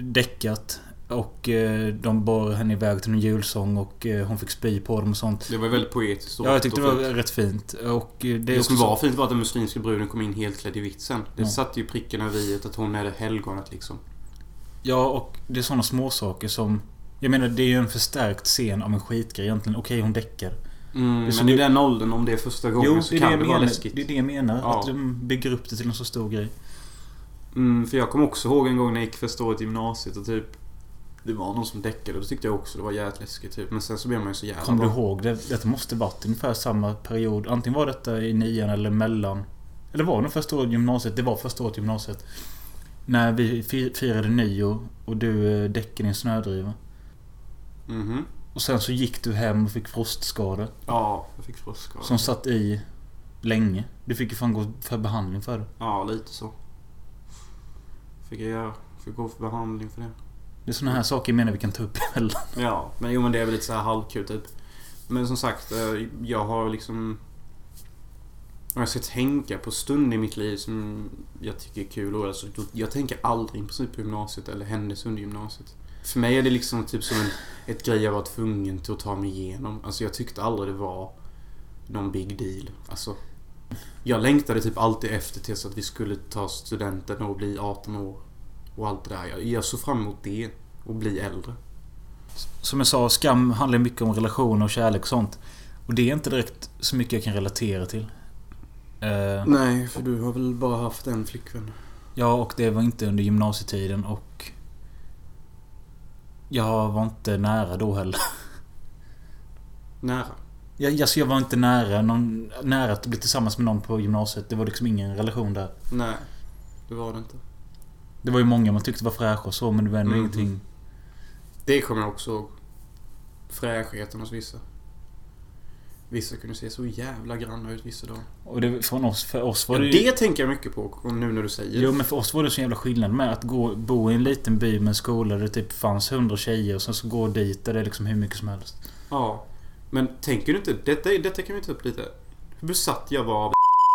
[SPEAKER 2] däckat. Och eh, de bar henne iväg till en julsång och eh, hon fick spy på dem och sånt.
[SPEAKER 1] Det var väldigt poetiskt. och-
[SPEAKER 2] Ja, jag tyckte det var
[SPEAKER 1] och fint.
[SPEAKER 2] rätt fint. Och eh, det
[SPEAKER 1] Det,
[SPEAKER 2] är också...
[SPEAKER 1] som var fint var att den muslimska bruden kom in helt klädd i vitt sen. Det
[SPEAKER 2] Ja.
[SPEAKER 1] satte ju pricken över i att hon är det helgonet liksom.
[SPEAKER 2] Ja, och det är såna små saker som... Jag menar, det är ju en förstärkt scen av en skitgrej egentligen. Okej, hon däckar.
[SPEAKER 1] Mm,
[SPEAKER 2] som
[SPEAKER 1] men i
[SPEAKER 2] det-
[SPEAKER 1] den åldern, om det är första gången,
[SPEAKER 2] Jo,
[SPEAKER 1] så
[SPEAKER 2] det är
[SPEAKER 1] kan
[SPEAKER 2] det,
[SPEAKER 1] det,
[SPEAKER 2] jag
[SPEAKER 1] vara
[SPEAKER 2] menar.
[SPEAKER 1] läskigt.
[SPEAKER 2] det är det jag menar.
[SPEAKER 1] Ja.
[SPEAKER 2] Att de bygger upp det till en så stor grej.
[SPEAKER 1] Mm, för jag kommer också ihåg en gång när jag gick första året i gymnasiet och typ Det var någon som däckade och det tyckte jag också det var jävligt läskigt typ. Men sen så blev man ju så jävla
[SPEAKER 2] Kommer du
[SPEAKER 1] bra.
[SPEAKER 2] ihåg det? Detta måste varit ungefär samma period. Antingen var detta i nian eller mellan. Eller var det första året i gymnasiet? Det var första året i gymnasiet. När vi fi- firade nyår och du eh, däckade i en snödriva.
[SPEAKER 1] Mhm.
[SPEAKER 2] Och sen så gick du hem och fick frostskador.
[SPEAKER 1] Ja, jag fick frostskada.
[SPEAKER 2] Som satt i länge. Du fick ju fan gå för behandling för det.
[SPEAKER 1] Ja, lite så. Fick jag göra. Fick gå för behandling för det.
[SPEAKER 2] Det är såna här saker jag menar vi kan ta upp emellan.
[SPEAKER 1] Ja, men jo men det är väl lite så här halvkul typ. Men som sagt, eh, jag har liksom... Jag ska tänka på stunder i mitt liv som jag tycker är kul. Och alltså, jag tänker aldrig i princip på gymnasiet eller händelser under gymnasiet. För mig är det liksom typ som en ett grej jag var tvungen till att ta mig igenom. Alltså jag tyckte aldrig det var någon big deal. Alltså, jag längtade typ alltid efter tills att vi skulle ta studenten och bli 18 år. Och allt det där. Jag, jag såg fram emot det. Och bli äldre.
[SPEAKER 2] Som jag sa, skam handlar mycket om relationer och kärlek och sånt. Och det är inte direkt så mycket jag kan relatera till. Eh,
[SPEAKER 1] Nej, för du har väl bara haft en flickvän?
[SPEAKER 2] Ja, och det var inte under gymnasietiden och... Jag var inte nära då heller.
[SPEAKER 1] Nära.
[SPEAKER 2] Jag, alltså jag var inte nära, någon, nära att bli tillsammans med någon på gymnasiet. Det var liksom ingen relation där.
[SPEAKER 1] Nej, det var det inte.
[SPEAKER 2] Det var ju många man tyckte var fräscha och så, men det var ändå
[SPEAKER 1] Mhm.
[SPEAKER 2] ingenting.
[SPEAKER 1] Det kommer jag också ihåg. Fräschheten hos vissa. Vissa kunde se så jävla granna ut vissa dagar.
[SPEAKER 2] Och det, från oss, för oss var
[SPEAKER 1] ja,
[SPEAKER 2] det
[SPEAKER 1] det...
[SPEAKER 2] ju...
[SPEAKER 1] tänker jag mycket på och nu när du säger
[SPEAKER 2] Jo, men för oss var det så jävla skillnad med att gå, bo i en liten by med en skola där det typ fanns hundra tjejer och sen så gå dit där det är liksom hur mycket som helst.
[SPEAKER 1] Ja. Men tänker du inte... Detta, detta kan vi ta upp lite. Hur besatt jag var av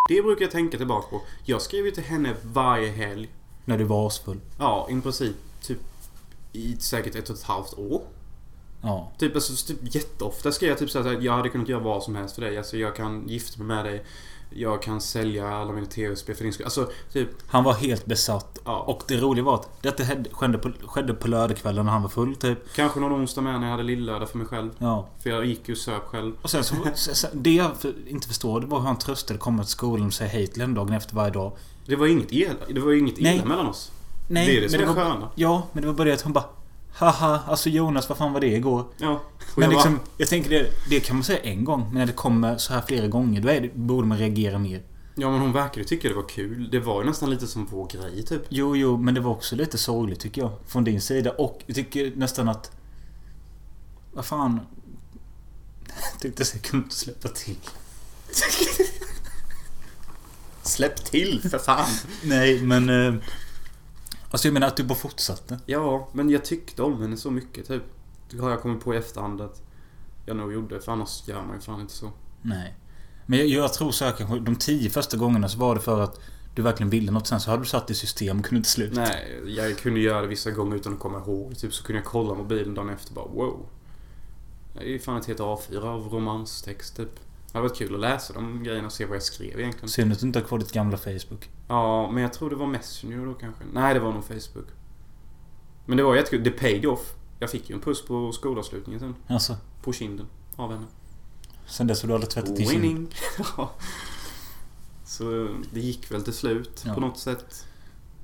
[SPEAKER 1] Det brukar jag tänka tillbaka på. Jag skrev ju till henne varje helg.
[SPEAKER 2] När du var asfull.
[SPEAKER 1] Ja, i princip typ i säkert ett och ett halvt år.
[SPEAKER 2] Ja.
[SPEAKER 1] Typ, alltså, typ jätteofta skrev jag typ såhär att jag hade kunnat göra vad som helst för dig. Alltså jag kan gifta mig med dig. Jag kan sälja alla mina tv-spel för din skull. Alltså typ,
[SPEAKER 2] Han var helt besatt.
[SPEAKER 1] Ja.
[SPEAKER 2] Och det roliga var att detta hände- skedde på, skedde på lördagskvällen när han var full typ.
[SPEAKER 1] kanske någon onsdag med när jag hade lillördag för mig själv.
[SPEAKER 2] Ja.
[SPEAKER 1] För jag gick ju och söp själv.
[SPEAKER 2] Och sen så... sen- sen- Det jag för- inte förstår det var hur han tröstade komma till skolan och säga hej till henne dagen efter varje dag.
[SPEAKER 1] Det var inget illa, det var inget
[SPEAKER 2] Nej.
[SPEAKER 1] illa mellan oss.
[SPEAKER 2] Nej,
[SPEAKER 1] det är det som
[SPEAKER 2] men
[SPEAKER 1] är det
[SPEAKER 2] var,
[SPEAKER 1] sköna.
[SPEAKER 2] Ja, men det var bara det att hon bara... Haha, alltså Jonas, vad fan var det igår?
[SPEAKER 1] Ja. Och
[SPEAKER 2] Men
[SPEAKER 1] jag
[SPEAKER 2] liksom, jag tänker det, det kan man säga en gång. Men när det kommer så här flera gånger, då är det, borde man reagera mer.
[SPEAKER 1] Ja men hon verkade tycka det var kul. Det var ju nästan lite som vår grej typ.
[SPEAKER 2] Jo, jo, men det var också lite sorgligt tycker jag. Från din sida. Och jag tycker nästan att... Vad fan... Jag tyckte att jag kunde inte släppa till.
[SPEAKER 1] Släpp till för fan!
[SPEAKER 2] Nej, men... Eh, alltså jag menar att du bara fortsatte.
[SPEAKER 1] ja, men jag tyckte om henne så mycket typ. Det har jag kommit på i efterhand att jag nog gjorde. För annars gör man ju fan inte så.
[SPEAKER 2] Nej. Men jag, jag tror så här kanske de tio första gångerna så var det för att du verkligen ville något. Sen så hade du satt i system och kunde inte sluta.
[SPEAKER 1] Nej, jag kunde göra det vissa gånger utan att komma ihåg. Typ så kunde jag kolla mobilen dagen efter bara wow. Det är ju fan ett helt A4 av romanstext typ. Det hade varit kul att läsa de grejerna och se vad jag skrev egentligen.
[SPEAKER 2] Synd att du inte har kvar ditt gamla Facebook.
[SPEAKER 1] Ja, men jag tror det var Messenger då kanske. Nej, det var nog Facebook. Men det var jättekul. Det paid off. Jag fick ju en puss på skolavslutningen sen.
[SPEAKER 2] Alltså,
[SPEAKER 1] På kinden. Av henne.
[SPEAKER 2] sen dess har du aldrig tvättat i sin...
[SPEAKER 1] Winning. Ja. så det gick väl till slut
[SPEAKER 2] Ja.
[SPEAKER 1] på något sätt.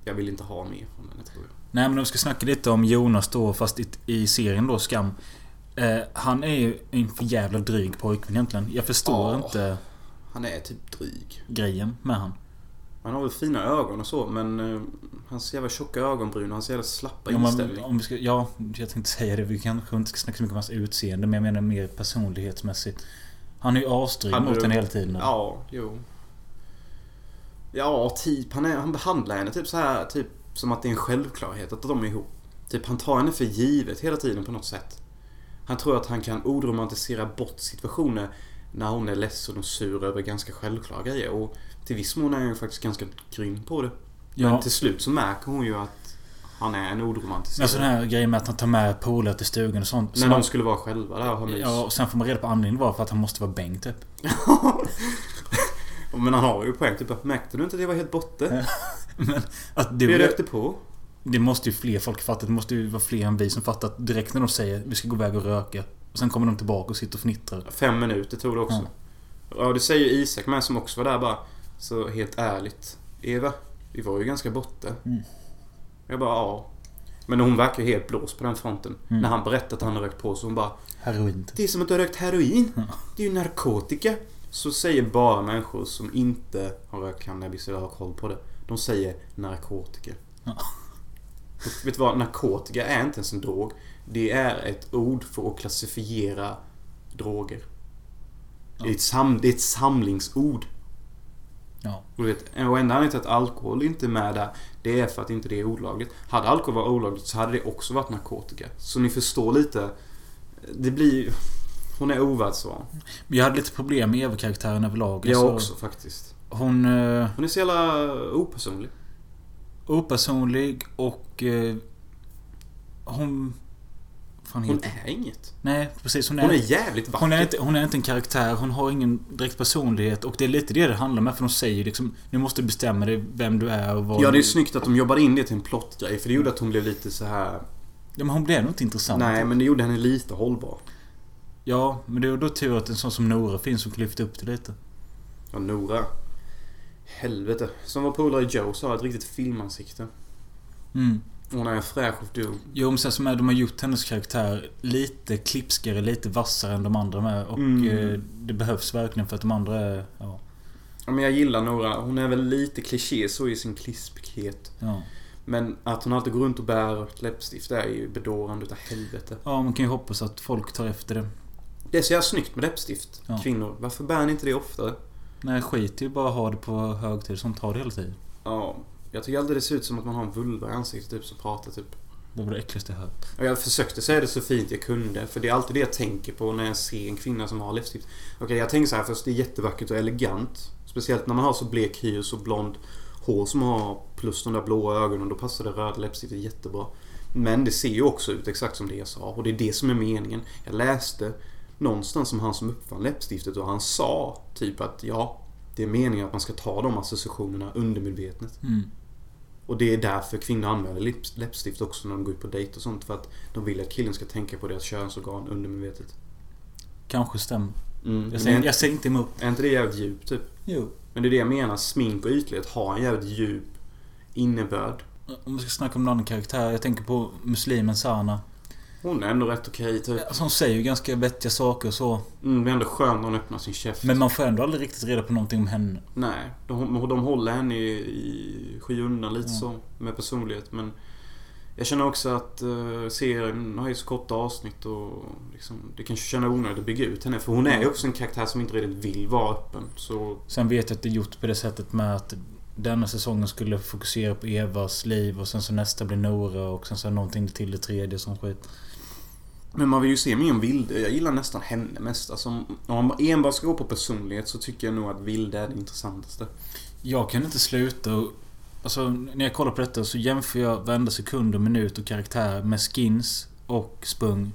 [SPEAKER 1] Jag vill inte ha mer från henne tror jag.
[SPEAKER 2] Nej men om vi ska snacka lite om Jonas då fast i, i serien då Skam. Eh, han är ju en för jävla dryg pojkvän egentligen. Jag förstår
[SPEAKER 1] Ja.
[SPEAKER 2] inte
[SPEAKER 1] Han är typ dryg.
[SPEAKER 2] grejen med han.
[SPEAKER 1] Han har väl fina ögon och så, men eh, hans jävla tjocka ögonbryn och hans jävla slappa
[SPEAKER 2] Om man,
[SPEAKER 1] inställning.
[SPEAKER 2] om vi ska, ja, jag tänkte säga det. Vi kanske inte ska snacka så mycket om hans utseende men jag menar mer personlighetsmässigt. Han är ju asdryg
[SPEAKER 1] Han är-
[SPEAKER 2] mot henne hela tiden.
[SPEAKER 1] Ja, jo. Ja, typ. Han, är, han behandlar henne typ så här, typ som att det är en självklarhet att de är ihop. Typ han tar henne för givet hela tiden på något sätt. Han tror att han kan odromantisera bort situationer när hon är ledsen och sur över ganska självklara grejer. Och till viss mån är han ju faktiskt ganska grym på det.
[SPEAKER 2] Ja.
[SPEAKER 1] Men till slut så märker hon ju att han är en odromantiserad.
[SPEAKER 2] Men alltså, sån här grej med att han tar med polare till stugan och sånt. Så
[SPEAKER 1] När de
[SPEAKER 2] man,
[SPEAKER 1] skulle vara själva där och ha mys.
[SPEAKER 2] ja, och sen får man reda på anledningen varför att han måste vara bäng typ.
[SPEAKER 1] Men han har ju poäng. Typ, märkte du inte att jag var helt borta?
[SPEAKER 2] Men att
[SPEAKER 1] Vi
[SPEAKER 2] du...
[SPEAKER 1] rökte på.
[SPEAKER 2] Det måste ju fler folk fatta. Det måste ju vara fler än vi som fattar. att Direkt när de säger vi ska gå iväg och röka. Och sen kommer de tillbaka och sitter och fnittrar.
[SPEAKER 1] alltså, Fem minuter tog det också. Ja, det säger Isak med som också var där bara. Så helt ärligt. Eva, vi var ju ganska borta.
[SPEAKER 2] Mm.
[SPEAKER 1] Jag bara ja. Men hon verkar helt blåst på den fronten.
[SPEAKER 2] Mm.
[SPEAKER 1] När han berättar att han har rökt på så hon bara
[SPEAKER 2] Heroin.
[SPEAKER 1] Det är som att du har rökt heroin.
[SPEAKER 2] Ja.
[SPEAKER 1] Det är ju narkotika. Så säger bara människor som inte har rökt cannabis eller har koll på det. De säger narkotika.
[SPEAKER 2] Ja.
[SPEAKER 1] Och Vet du vad? Narkotika är inte ens en drog. Det är ett ord för att klassifiera droger. Det, är ett sam- det är ett samlingsord.
[SPEAKER 2] Ja.
[SPEAKER 1] Och du vet, och enda anledningen till att alkohol inte är med där, det är för att inte det är olagligt. Hade alkohol varit olagligt så hade det också varit narkotika. Så ni förstår lite. Det blir... Hon är ovärldsvan.
[SPEAKER 2] Men jag hade lite problem med Eva-karaktären överlag.
[SPEAKER 1] Jag
[SPEAKER 2] Alltså,
[SPEAKER 1] också faktiskt.
[SPEAKER 2] Hon... Eh,
[SPEAKER 1] Hon är så jävla opersonlig.
[SPEAKER 2] opersonlig och... Eh, hon... Fan
[SPEAKER 1] Hon
[SPEAKER 2] heter...
[SPEAKER 1] är inget.
[SPEAKER 2] Nej, precis. Hon är...
[SPEAKER 1] Hon är jävligt vacker.
[SPEAKER 2] Hon är, inte, hon är inte en karaktär, hon har ingen direkt personlighet och det är lite det det handlar om. För de säger liksom Nu måste du bestämma dig vem du är och vad
[SPEAKER 1] Ja, det är
[SPEAKER 2] du...
[SPEAKER 1] snyggt att de jobbade in det till en plottgrej. För det gjorde att hon blev lite så här.
[SPEAKER 2] Ja, men hon blev nog inte intressant.
[SPEAKER 1] Nej, men det gjorde henne lite hållbar.
[SPEAKER 2] Ja, men det är då tur att en sån som Nora finns som kan lyfta upp det lite.
[SPEAKER 1] Ja, Nora. Helvete. Som var polare Joe så har ett riktigt filmansikte.
[SPEAKER 2] Mm.
[SPEAKER 1] Hon är en fräsch och dum.
[SPEAKER 2] Jo, men sen som är, de har gjort hennes karaktär lite klipskare, lite vassare än de andra med. Och
[SPEAKER 1] Mm.
[SPEAKER 2] eh, det behövs verkligen för att de andra är... Ja.
[SPEAKER 1] Ja, men jag gillar Nora. Hon är väl lite kliché så i sin klispighet.
[SPEAKER 2] Ja,
[SPEAKER 1] Men att hon alltid går runt och bär ett läppstift är ju bedårande utav helvete.
[SPEAKER 2] ja man kan ju hoppas att folk tar efter det.
[SPEAKER 1] Det är så jävla snyggt med läppstift.
[SPEAKER 2] Ja.
[SPEAKER 1] Kvinnor. Varför bär ni inte det oftare?
[SPEAKER 2] Nej, skit i att bara ha det på högtid. Sånt tar det hela tiden.
[SPEAKER 1] Ja. Jag tycker alltid det ser ut som att man har en vulva i ansiktet typ som pratar typ.
[SPEAKER 2] Det var det äckligaste jag hört.
[SPEAKER 1] Och jag försökte säga det så fint jag kunde. För det är alltid det jag tänker på när jag ser en kvinna som har läppstift. Okej, jag tänker så här först. Det är jättevackert och elegant. Speciellt när man har så blek hy och så blond hår som man har. Plus de där blåa ögonen. Då passar det röda läppstiftet jättebra. Men det ser ju också ut exakt som det jag sa. Och det är det som är meningen. Jag läste någonstans om han som uppfann läppstiftet och han sa typ att ja, det är meningen att man ska ta de associationerna undermedvetet.
[SPEAKER 2] Mm.
[SPEAKER 1] Och det är därför kvinnor använder lips- läppstift också när de går ut på dejt och sånt. För att de vill att killen ska tänka på deras könsorgan undermedvetet.
[SPEAKER 2] Kanske stämmer.
[SPEAKER 1] Mm.
[SPEAKER 2] Jag
[SPEAKER 1] Men är,
[SPEAKER 2] säger,
[SPEAKER 1] inte-
[SPEAKER 2] jag säger inte emot.
[SPEAKER 1] är inte det jävligt djupt typ?
[SPEAKER 2] Jo.
[SPEAKER 1] Men det är det jag menar. Smink och ytlighet har en jävligt djup innebörd.
[SPEAKER 2] Om vi ska snacka om någon annan karaktär. Jag tänker på muslimen Sana.
[SPEAKER 1] Hon är ändå rätt okej typ.
[SPEAKER 2] Alltså hon säger ju ganska vettiga saker och så.
[SPEAKER 1] Mm, det är ändå skönt när hon öppnar sin käft.
[SPEAKER 2] Men man får ändå aldrig riktigt reda på någonting om henne.
[SPEAKER 1] Nej, de, de håller henne i, i skymundan lite
[SPEAKER 2] Ja.
[SPEAKER 1] så. Med personlighet. Men jag känner också att eh, serien har ju så korta avsnitt och liksom, det kanske känna onödigt att bygga ut henne. För hon är ju också en karaktär som inte riktigt vill vara öppen. Så
[SPEAKER 2] Sen vet jag att det är gjort på det sättet med att denna säsongen skulle fokusera på Evas liv och sen så nästa blir Nora och sen så någonting till det tredje som skit.
[SPEAKER 1] Men man vill ju se mer om Vilde. Jag gillar nästan henne mest. Alltså, om man enbart ska gå på personlighet så tycker jag nog att Vilde är det intressantaste.
[SPEAKER 2] Jag kan inte sluta och... Alltså när jag kollar på detta så jämför jag varenda sekund och minut och karaktär med skins och spung.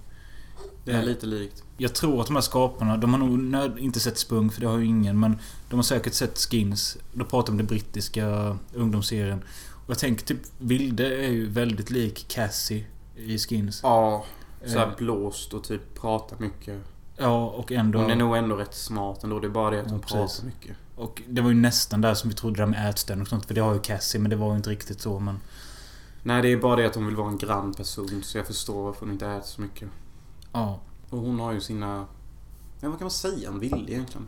[SPEAKER 1] Det är
[SPEAKER 2] Eh,
[SPEAKER 1] lite likt.
[SPEAKER 2] Jag tror att de här skaparna, de har nog nöd, inte sett Spung för det har ju ingen men De har säkert sett Skins. Då pratar de om den brittiska ungdomsserien. Och jag tänker typ Vilde är ju väldigt lik Cassie i Skins.
[SPEAKER 1] Ja,
[SPEAKER 2] Eh,
[SPEAKER 1] såhär blåst och typ pratar mycket.
[SPEAKER 2] ja och ändå...
[SPEAKER 1] Hon är nog ändå rätt smart ändå. Det är bara det att
[SPEAKER 2] Ja,
[SPEAKER 1] hon
[SPEAKER 2] precis.
[SPEAKER 1] pratar mycket.
[SPEAKER 2] Och det var ju nästan där som vi trodde det här med ätstörning och sånt. För det har ju Cassie men det var ju inte riktigt så men...
[SPEAKER 1] Nej, det är bara det att hon vill vara en grann person. Så jag förstår varför hon inte äter så mycket.
[SPEAKER 2] Ja.
[SPEAKER 1] Och hon har ju sina... Ja, vad kan man säga om Vilde egentligen?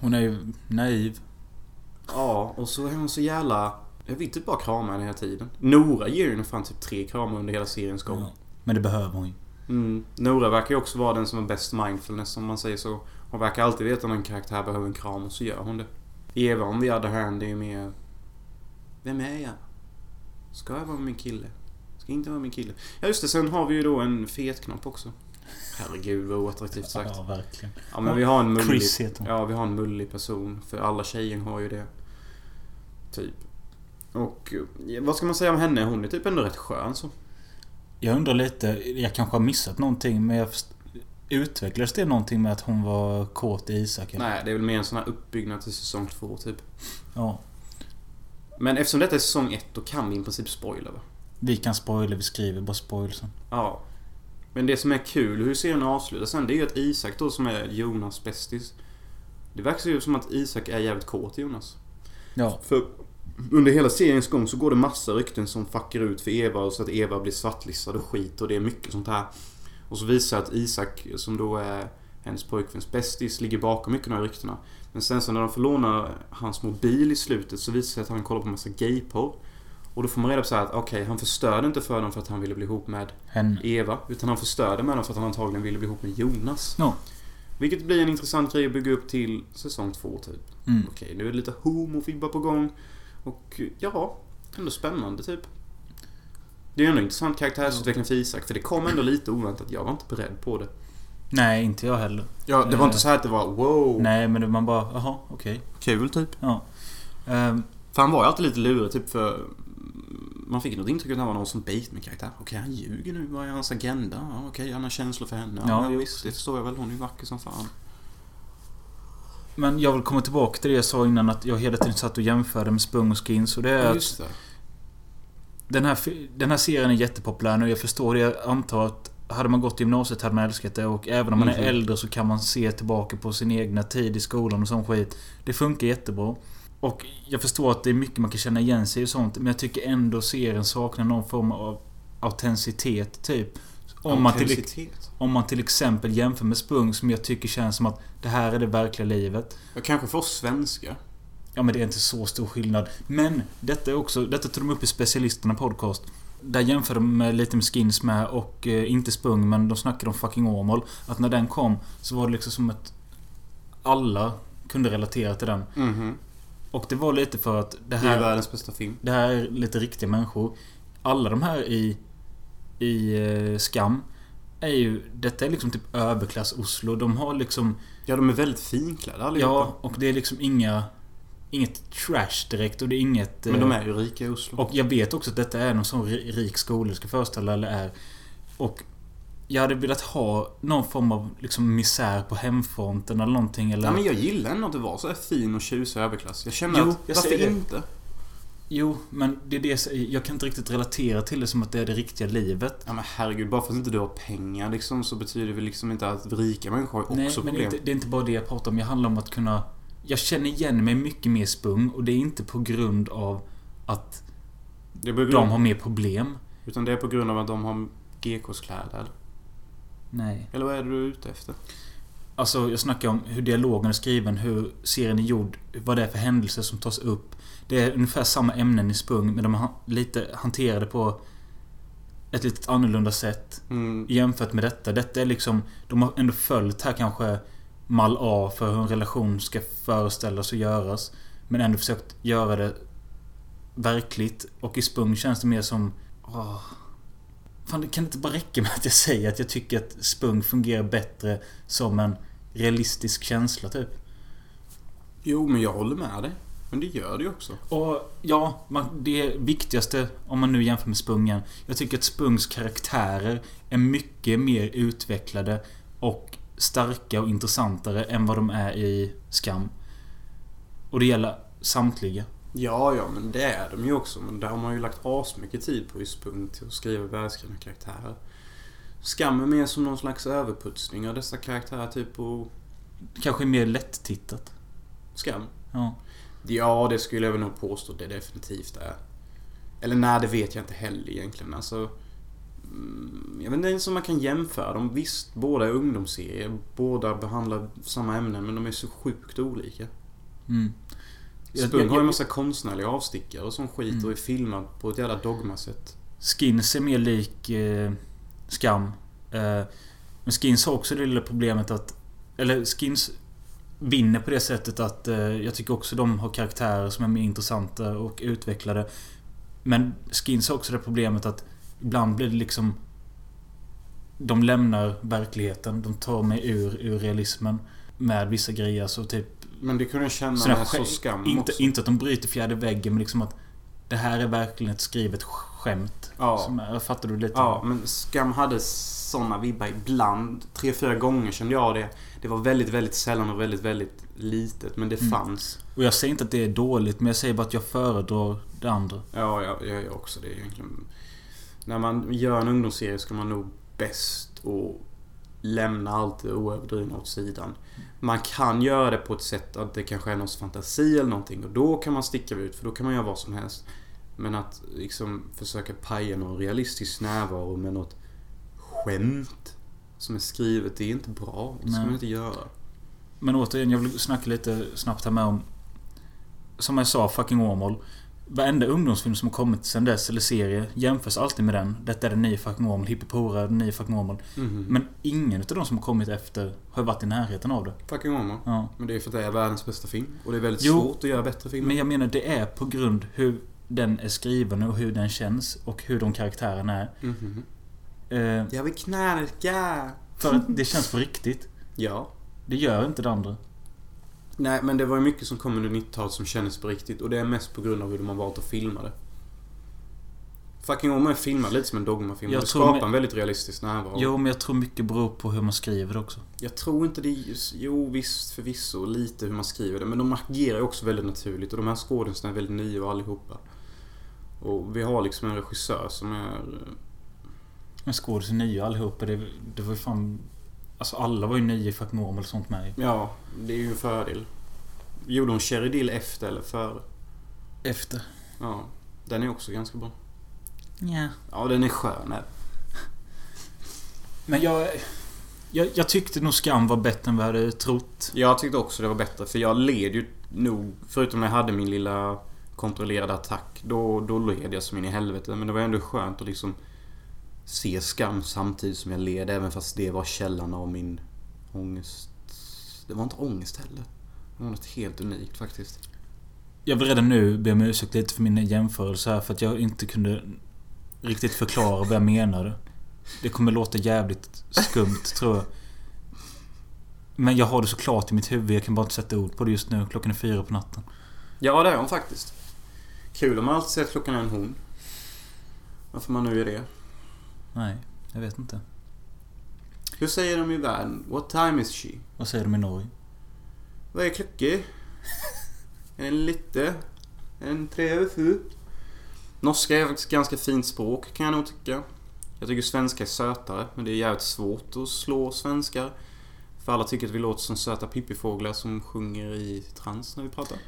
[SPEAKER 2] Hon är ju naiv.
[SPEAKER 1] Ja, och så är hon så jävla... Jag vill typ bara krama henne hela tiden. Nora ger ju henne fan typ tre kramar under hela seriens gång.
[SPEAKER 2] Ja. Men det behöver hon ju.
[SPEAKER 1] Mm. Nora verkar ju också vara den som har bäst mindfulness om man säger så. Hon verkar alltid veta när en karaktär behöver en kram och så gör hon det. Eva on the other hand är ju mer... Vem är jag? Ska jag vara min kille? Ska jag inte vara min kille? Ja just det, sen har vi ju då en fetknopp också. Herregud vad oattraktivt sagt.
[SPEAKER 2] Ja, verkligen.
[SPEAKER 1] Ja men vi har en mullig...
[SPEAKER 2] Chris heter hon.
[SPEAKER 1] Ja, vi har en mullig person. För alla tjejer har ju det. Typ. Och eh, vad ska man säga om henne? Hon är typ ändå rätt skön så.
[SPEAKER 2] Jag undrar lite, jag kanske har missat någonting men jag först- Utvecklades det någonting med att hon var kåt i Isak? eller?
[SPEAKER 1] Nej, det är väl mer en sån här uppbyggnad till säsong två typ.
[SPEAKER 2] Ja.
[SPEAKER 1] Men eftersom detta är säsong ett då kan vi i princip spoila va?
[SPEAKER 2] Vi kan spoila, vi skriver bara spoilsen.
[SPEAKER 1] Ja. Men det som är kul hur serien avslutas sen det är ju att Isak då som är Jonas bästis. Det verkar ju som att Isak är jävligt kåt i Jonas.
[SPEAKER 2] Ja.
[SPEAKER 1] För Under hela seriens gång så går det massa rykten som fuckar ut för Eva och så att Eva blir svartlistad och skit och det är mycket sånt här. Och så visar att Isak, som då är hennes pojkväns bästis, ligger bakom mycket av de här ryktena. Men sen så när de får låna hans mobil i slutet så visar det sig att han kollar på massa gayporr. Och då får man reda på så här att okej, han förstörde inte för dem för att han ville bli ihop med
[SPEAKER 2] Hen.
[SPEAKER 1] Eva. Utan han förstörde med dem för att han antagligen ville bli ihop med Jonas.
[SPEAKER 2] Ja.
[SPEAKER 1] Vilket blir en intressant grej att bygga upp till säsong två typ.
[SPEAKER 2] Mm.
[SPEAKER 1] Okej, nu är det lite homofibbar på gång. Och ja, ändå spännande typ. Det är ändå en intressant karaktärsutveckling för Isak, för det kom ändå lite oväntat. Jag var inte beredd på det.
[SPEAKER 2] Nej, inte jag heller.
[SPEAKER 1] Ja, det var
[SPEAKER 2] Eh.
[SPEAKER 1] inte så här att det var wow.
[SPEAKER 2] Nej, men det- man bara, jaha, okej.
[SPEAKER 1] Oh. Kul typ.
[SPEAKER 2] Ja. Ehm,
[SPEAKER 1] För han var ju alltid lite lurig typ för... Man fick något intryck av att han var någon som bait med karaktär. Okej, han ljuger nu. Vad är hans agenda? Ja, Okej, han har känslor för henne.
[SPEAKER 2] Ja,
[SPEAKER 1] Ja,
[SPEAKER 2] jo.
[SPEAKER 1] visst. Det förstår jag väl. Hon är ju vacker som fan.
[SPEAKER 2] men jag vill komma tillbaka till det jag sa innan att jag hela tiden satt och jämförde med Spung och Skins. Och det är
[SPEAKER 1] Ja,
[SPEAKER 2] att
[SPEAKER 1] just det.
[SPEAKER 2] den här, fi- den här serien är jättepopulär nu. Jag förstår det. Jag antar att hade man gått i gymnasiet hade man älskat det. Och även om man
[SPEAKER 1] Mhm.
[SPEAKER 2] är äldre så kan man se tillbaka på sin egna tid i skolan och sån skit. Det funkar jättebra. Och jag förstår att det är mycket man kan känna igen sig i och sånt. Men jag tycker ändå serien saknar någon form av autenticitet, typ. Om man, till,
[SPEAKER 1] Autenticitet.
[SPEAKER 2] om man till exempel jämför med Spung som jag tycker känns som att det här är det verkliga livet.
[SPEAKER 1] Ja, kanske för oss svenskar.
[SPEAKER 2] Ja men det är inte så stor skillnad. Men detta är också, detta tog de upp i specialisterna podcast. Där jämför de med, lite med Skins med och eh, inte Spung men de snackade om fucking Åmål. Att när den kom så var det liksom som att alla kunde relatera till den.
[SPEAKER 1] Mhm.
[SPEAKER 2] Och det var lite för att det
[SPEAKER 1] Det är ju
[SPEAKER 2] här,
[SPEAKER 1] världens bästa film.
[SPEAKER 2] det här är lite riktiga människor. Alla de här i, i eh, Skam är ju, detta är liksom typ överklass-Oslo. De har liksom
[SPEAKER 1] Ja, de är väldigt finklädda allihopa.
[SPEAKER 2] Ja, och det är liksom inga... Inget trash direkt och det är inget...
[SPEAKER 1] Men de
[SPEAKER 2] eh,
[SPEAKER 1] är ju rika i Oslo.
[SPEAKER 2] Och jag vet också att detta är någon sån ri- rik skola det ska föreställa eller är. Och jag hade velat ha någon form av liksom misär på hemfronten eller någonting eller...
[SPEAKER 1] Nej, men jag gillar ändå att det var så här fin och tjusig överklass. Jag känner
[SPEAKER 2] Jo,
[SPEAKER 1] att,
[SPEAKER 2] jag
[SPEAKER 1] varför
[SPEAKER 2] ser det.
[SPEAKER 1] inte?
[SPEAKER 2] Jo, men det är det jag säger. jag kan inte riktigt relatera till det som att det är det riktiga livet.
[SPEAKER 1] Ja men herregud, bara för att inte du har pengar liksom så betyder det liksom inte att rika människor har också
[SPEAKER 2] Nej, men
[SPEAKER 1] problem.
[SPEAKER 2] det är, inte, det är inte bara det jag pratar om. Jag handlar om att kunna... Jag känner igen mig mycket mer i spung och det är inte på grund av att
[SPEAKER 1] Det är på grund,
[SPEAKER 2] de har mer problem.
[SPEAKER 1] Utan det är på grund av att de har GKs kläder. eller?
[SPEAKER 2] Nej.
[SPEAKER 1] Eller vad är det du är ute efter?
[SPEAKER 2] Alltså jag snackar om hur dialogen är skriven, hur serien är gjord, vad det är för händelser som tas upp. Det är ungefär samma ämnen i Spung men de är han- lite hanterade på ett lite annorlunda sätt
[SPEAKER 1] Mm.
[SPEAKER 2] jämfört med detta. Detta är liksom, de har ändå följt här kanske mall A för hur en relation ska föreställas och göras. Men ändå försökt göra det verkligt. Och i Spung känns det mer som... Åh, fan, det kan inte bara räcka med att jag säger att jag tycker att Spung fungerar bättre som en realistisk känsla typ.
[SPEAKER 1] Jo, men jag håller med dig. Men det gör det ju också.
[SPEAKER 2] Och ja, man, det viktigaste om man nu jämför med Spungen. Jag tycker att Spungs karaktärer är mycket mer utvecklade och starka och intressantare än vad de är i Skam. Och det gäller samtliga.
[SPEAKER 1] Ja, ja, men det är de ju också. Men där har man ju lagt asmycket tid på i Spung till att skriva välskrivna karaktärer. Skam är mer som någon slags överputsning av dessa karaktärer, typ på
[SPEAKER 2] Kanske mer lättittat.
[SPEAKER 1] Skam.
[SPEAKER 2] Ja.
[SPEAKER 1] Ja, det skulle jag väl nog påstå det definitivt är. Eller nej, det vet jag inte heller egentligen. Alltså, mm, jag vet inte ens om man kan jämföra dem. Visst, båda är ungdomsserier. Båda behandlar samma ämnen, men de är så sjukt olika.
[SPEAKER 2] Mm. Jag-
[SPEAKER 1] Spung
[SPEAKER 2] jag-
[SPEAKER 1] har ju en massa konstnärliga avstickare och sån skit
[SPEAKER 2] Mm.
[SPEAKER 1] och är filmad på ett jävla dogmasätt.
[SPEAKER 2] Skins är mer lik eh, Skam. Eh, men Skins har också det lilla problemet att... Eller Skins vinner på det sättet att eh, jag tycker också de har karaktärer som är mer intressanta och utvecklade. Men Skins har också det problemet att ibland blir det liksom... De lämnar verkligheten. De tar mig ur, ur realismen. Med vissa grejer. Så typ
[SPEAKER 1] Men det kunde jag känna
[SPEAKER 2] Sådana
[SPEAKER 1] med så
[SPEAKER 2] skämt-
[SPEAKER 1] skam
[SPEAKER 2] inte,
[SPEAKER 1] också.
[SPEAKER 2] inte att de bryter fjärde väggen, men liksom att... Det här är verkligen ett skrivet skämt.
[SPEAKER 1] Ja.
[SPEAKER 2] Som är, fattar du lite?
[SPEAKER 1] Ja, men Skam hade såna vibbar ibland. Tre, fyra gånger kände jag det. Det var väldigt, väldigt sällan och väldigt, väldigt litet. Men det
[SPEAKER 2] Mm.
[SPEAKER 1] fanns.
[SPEAKER 2] Och jag säger inte att det är dåligt, men jag säger bara att jag föredrar det andra.
[SPEAKER 1] Ja, jag jag gör också det egentligen. När man gör en ungdomsserie ska man nog bäst och lämna allt det oöverdrivna åt sidan. Man kan göra det på ett sätt att det kanske är någons fantasi eller någonting och då kan man sticka ut för då kan man göra vad som helst. Men att liksom försöka paja någon realistisk närvaro med något skämt som är skrivet, det är inte bra. Det ska
[SPEAKER 2] Nej.
[SPEAKER 1] man inte göra.
[SPEAKER 2] Men återigen, jag vill snacka lite snabbt här med om... Som jag sa, fucking Åmål. Varenda ungdomsfilm som har kommit sen dess, eller serie, jämförs alltid med den. Detta är den nya fucking Åmål, Hippipora, den nya fucking Åmål.
[SPEAKER 1] Mhm.
[SPEAKER 2] Men ingen utav de som har kommit efter har varit i närheten av det.
[SPEAKER 1] Fucking Åmål.
[SPEAKER 2] Ja.
[SPEAKER 1] Men det är för att det är världens bästa film. Och det är väldigt
[SPEAKER 2] Jo.
[SPEAKER 1] svårt att göra bättre filmer.
[SPEAKER 2] Men jag menar, det är på grund hur den är skriven och hur den känns och hur de karaktärerna är.
[SPEAKER 1] Mhm.
[SPEAKER 2] Eh,
[SPEAKER 1] Jag vill knarka!
[SPEAKER 2] för att det känns på riktigt.
[SPEAKER 1] Ja.
[SPEAKER 2] Det gör inte det andra.
[SPEAKER 1] Nej, men det var ju mycket som kom under 90-talet som kändes på riktigt. Och det är mest på grund av hur de har valt att filma det. Fucking Åmål är filmad lite som en dogmafilm.
[SPEAKER 2] Jag
[SPEAKER 1] och Det
[SPEAKER 2] tror
[SPEAKER 1] skapar
[SPEAKER 2] med-
[SPEAKER 1] en väldigt realistisk närvaro.
[SPEAKER 2] Jo, men jag tror mycket beror på hur man skriver det också.
[SPEAKER 1] Jag tror inte det är just, Jo, visst förvisso. Lite hur man skriver det. Men de agerar ju också väldigt naturligt. Och de här skådespelarna är väldigt nya allihopa. Och vi har liksom en regissör som är...
[SPEAKER 2] Men skådis är nya allihopa. Det, det var ju fan... Alltså alla var ju nya i Fuck Normal och sånt med ju.
[SPEAKER 1] Ja, det är ju en fördel. Gjorde hon Cherry Dill efter eller före?
[SPEAKER 2] Efter.
[SPEAKER 1] Ja. Den är också ganska bra.
[SPEAKER 2] Ja.
[SPEAKER 1] Ja, den är skön. här.
[SPEAKER 2] Men jag, jag... Jag tyckte nog Skam var bättre än vad jag hade trott.
[SPEAKER 1] Jag tyckte också det var bättre för jag led ju nog, förutom när jag hade min lilla kontrollerade attack, då, då led jag som in i helvete. Men det var ändå skönt att liksom se skam samtidigt som jag led, även fast det var källan av min ångest. Det var inte ångest heller. Det var något helt unikt faktiskt.
[SPEAKER 2] Jag vill redan nu be om ursäkt lite för mina jämförelser här för att jag inte kunde riktigt förklara vad jag menade. Det kommer låta jävligt skumt tror jag. Men jag har det såklart i mitt huvud. Jag kan bara inte sätta ord på det just nu. Klockan är fyra på natten.
[SPEAKER 1] Ja, det är hon faktiskt. Kul om man alltid säger att klockan är en hon. Varför man nu gör det.
[SPEAKER 2] Nej, jag vet inte.
[SPEAKER 1] Hur säger de i världen? What time is she?
[SPEAKER 2] Vad säger de i Norge?
[SPEAKER 1] Vad är klockan? Är den lite? Är den tre över sju? Norska är faktiskt ganska fint språk kan jag nog tycka. Jag tycker svenska är sötare, men det är jävligt svårt att slå svenskar. För alla tycker att vi låter som söta pippifåglar som sjunger i trans när vi pratar.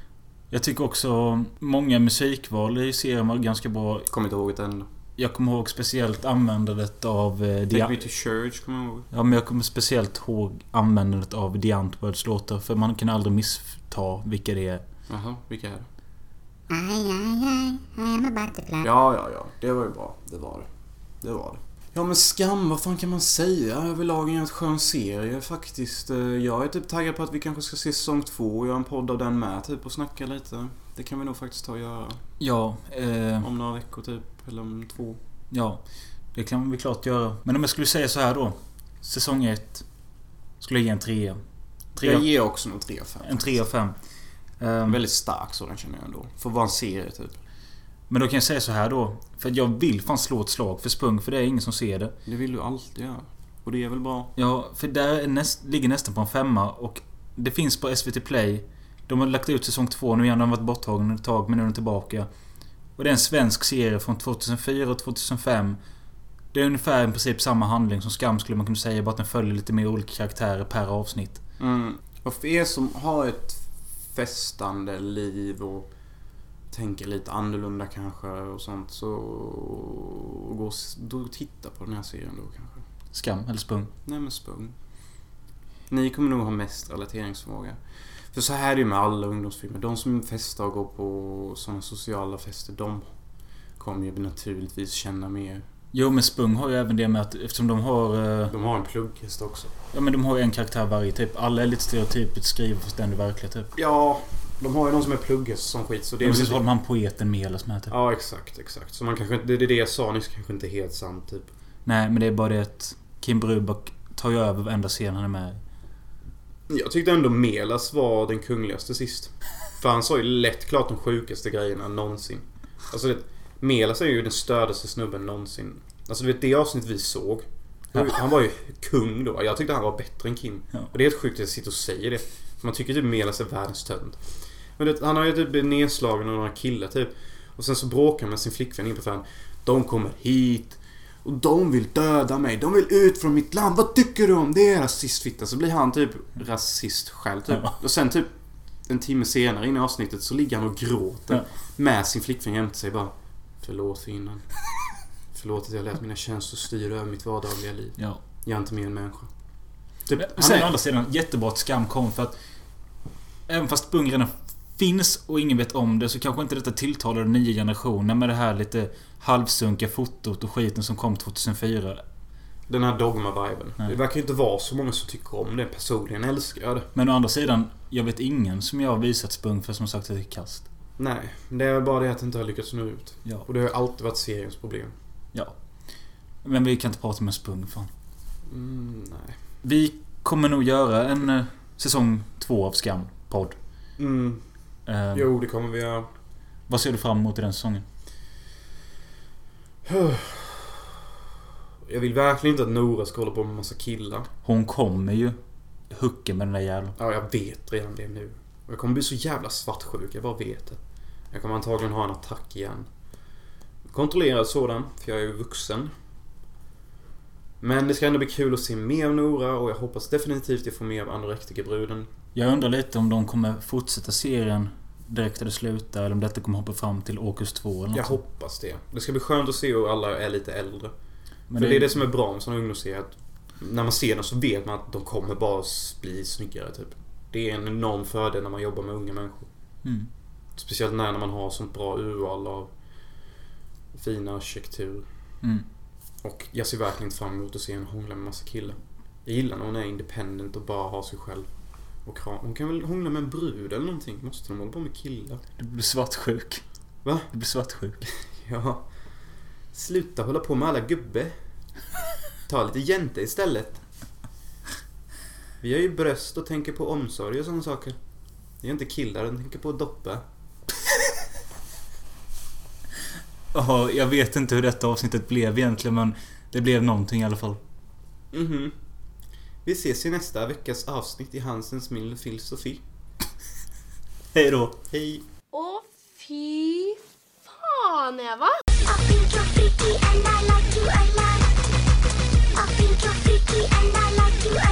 [SPEAKER 2] Jag tycker också många musikval i serien var ganska bra.
[SPEAKER 1] Kommer inte ihåg det än.
[SPEAKER 2] Jag kommer ihåg speciellt användandet av... eh,
[SPEAKER 1] Take
[SPEAKER 2] The,
[SPEAKER 1] me to church, kommer jag ihåg.
[SPEAKER 2] ja, men jag kommer speciellt ihåg användandet av The Antwords låtar. För man kan aldrig missta vilka det är.
[SPEAKER 1] Jaha, vilka är det?
[SPEAKER 4] Ay, ay, ay, I am a butterfly.
[SPEAKER 1] Ja, ja, ja. Det var ju bra. Det var det. Det var det. Ja men skam, vad fan kan man säga? Överlag en jävligt skön serie faktiskt. Eh, Jag är typ taggad på att vi kanske ska se säsong två och göra en podd av den med typ och snacka lite. Det kan vi nog faktiskt ta och göra.
[SPEAKER 2] Ja, eh,
[SPEAKER 1] Om några veckor typ, eller om två.
[SPEAKER 2] ja. Det kan vi klart göra. Men om jag skulle säga så här då. Säsong 1. Skulle jag ge en 3.
[SPEAKER 1] Jag
[SPEAKER 2] Tre,
[SPEAKER 1] ger också nog tre av fem.
[SPEAKER 2] en 3 av Ehm, 5.
[SPEAKER 1] En väldigt stark sådan känner jag ändå. För att vara en serie typ.
[SPEAKER 2] men då kan jag säga så här då. För att jag vill fan slå ett slag för Spung. För det är ingen som ser det.
[SPEAKER 1] Det vill du alltid göra. Och det är väl bra?
[SPEAKER 2] Ja, för där är näst, ligger nästan på en femma och det finns på SVT Play. De har lagt ut säsong två nu igen. De har varit borttagen ett tag men nu är de tillbaka. Och det är en svensk serie från 2004 och 2005. Det är ungefär i princip samma handling som Skam skulle man kunna säga. Bara att den följer lite mer olika karaktärer per avsnitt.
[SPEAKER 1] Mm. Och för er som har ett festande liv och tänker lite annorlunda kanske och sånt så gå och s- då titta på den här serien då kanske.
[SPEAKER 2] Skam eller Spung.
[SPEAKER 1] Nej men spung. Ni kommer nog ha mest relateringsförmåga. För så här är det ju med alla ungdomsfilmer. De som festar och går på sådana sociala fester, de kommer ju naturligtvis känna mer.
[SPEAKER 2] Jo men Spung har ju även det med att eftersom de har... eh,
[SPEAKER 1] De har en plugghäst också.
[SPEAKER 2] Ja men de har ju en karaktär varje typ. Alla är lite stereotypiskt skrivna fast ändå verkliga typ.
[SPEAKER 1] Ja, de har ju någon som är plugghäst som skit så det är
[SPEAKER 2] Och
[SPEAKER 1] väl
[SPEAKER 2] så
[SPEAKER 1] lite-
[SPEAKER 2] har de han poeten med eller sånt här typ.
[SPEAKER 1] Ja, exakt, exakt. Så man kanske inte, det är det jag sa nyss, kanske inte helt sant typ.
[SPEAKER 2] Nej, men det är bara det att Kim Bruback tar ju över varenda scen han är med i.
[SPEAKER 1] Jag tyckte ändå Melas var den kungligaste sist. För han sa ju lätt klart de sjukaste grejerna någonsin. Alltså det, Melas är ju den stördaste snubben någonsin. Alltså du vet det avsnitt vi såg.
[SPEAKER 2] Ja.
[SPEAKER 1] Han var ju kung då. Jag tyckte han var bättre än Kim.
[SPEAKER 2] Ja.
[SPEAKER 1] Och det är helt sjukt att jag sitter och säger det. För Man tycker typ Melas är världens tönt. Men du vet, han har ju typ blivit nedslagen av några killar typ. Och sen så bråkar han med sin flickvän in på fan. De kommer hit. Och de vill döda mig. De vill ut från mitt land. Vad tycker du om det rasistfitta? Så blir han typ rasist själv typ.
[SPEAKER 2] Ja.
[SPEAKER 1] Och sen typ en timme senare in i avsnittet så ligger han och gråter.
[SPEAKER 2] Ja.
[SPEAKER 1] Med sin flickvän jämte sig bara. Förlåt innan. Förlåt att jag lät mina känslor styra över mitt vardagliga liv.
[SPEAKER 2] Ja.
[SPEAKER 1] Jag är inte mer än människa. Typ,
[SPEAKER 2] Men
[SPEAKER 1] han
[SPEAKER 2] sen
[SPEAKER 1] är-
[SPEAKER 2] å andra sidan, jättebra att Skam kom för att... Även fast Bungrarna finns och ingen vet om det så kanske inte detta tilltalar nya generationer med det här lite halvsunkiga fotot och skiten som kom 2004.
[SPEAKER 1] Den här dogma-viben.
[SPEAKER 2] Nej.
[SPEAKER 1] Det verkar ju inte vara så många som tycker om det. Personligen älskar jag det.
[SPEAKER 2] Men å andra sidan, jag vet ingen som jag har visat Spung för som sagt att det är kast.
[SPEAKER 1] Nej, det är bara det att det inte har lyckats nå ut.
[SPEAKER 2] Ja.
[SPEAKER 1] Och det har ju alltid varit seriens problem.
[SPEAKER 2] Men vi kan inte prata med Spung fan.
[SPEAKER 1] Mm, nej.
[SPEAKER 2] Vi kommer nog göra en eh, säsong två av Skam podd.
[SPEAKER 1] Mm,
[SPEAKER 2] Eh,
[SPEAKER 1] jo, det kommer vi göra.
[SPEAKER 2] vad ser du fram emot i den säsongen?
[SPEAKER 1] Jag vill verkligen inte att Nora ska hålla på med massa killar.
[SPEAKER 2] Hon kommer ju hucka med den där jäveln.
[SPEAKER 1] Ja, jag vet redan det nu. Och jag kommer bli så jävla svartsjuk, jag bara vet det. Jag kommer antagligen ha en attack igen. Kontrollerad sådan, för jag är ju vuxen. Men det ska ändå bli kul att se mer av Nora och jag hoppas definitivt jag får mer av anorektikerbruden.
[SPEAKER 2] Jag undrar lite om de kommer fortsätta serien direkt där det slutar eller om detta kommer hoppa fram till Åkus 2 eller
[SPEAKER 1] Jag
[SPEAKER 2] något. sånt.
[SPEAKER 1] hoppas det. Det ska bli skönt att se hur alla är lite äldre.
[SPEAKER 2] Men
[SPEAKER 1] För det är det som är bra med sådana ungdomsserier. att När man ser dem så vet man att de kommer bara bli snyggare typ. Det är en enorm fördel när man jobbar med unga människor.
[SPEAKER 2] Mm.
[SPEAKER 1] Speciellt när när man har sånt bra urval av fina arkitektur.
[SPEAKER 2] Mm.
[SPEAKER 1] Och jag ser verkligen inte fram emot att se henne hångla med massa killar. Jag gillar när hon är independent och bara har sig själv. Och kram. Hon kan väl hångla med en brud eller någonting? Måste de hålla på med killar?
[SPEAKER 2] Du blir svartsjuk.
[SPEAKER 1] Va?
[SPEAKER 2] Du blir svartsjuk.
[SPEAKER 1] Ja. Sluta hålla på med alla gubbe. Ta lite jänte istället. Vi har ju bröst och tänker på omsorg och sådana saker. Vi är inte killar och tänker på att doppa.
[SPEAKER 2] Ja, jag vet inte hur detta avsnittet blev egentligen men det blev någonting i alla fall.
[SPEAKER 1] Mhm. Vi ses i nästa veckas avsnitt i Hansens Mild Filosofi.
[SPEAKER 2] Hej då.
[SPEAKER 1] Hej!
[SPEAKER 5] Åh fy fan Eva!
[SPEAKER 6] I think you're freaky and I like you a lot. I think you're freaky and I like you a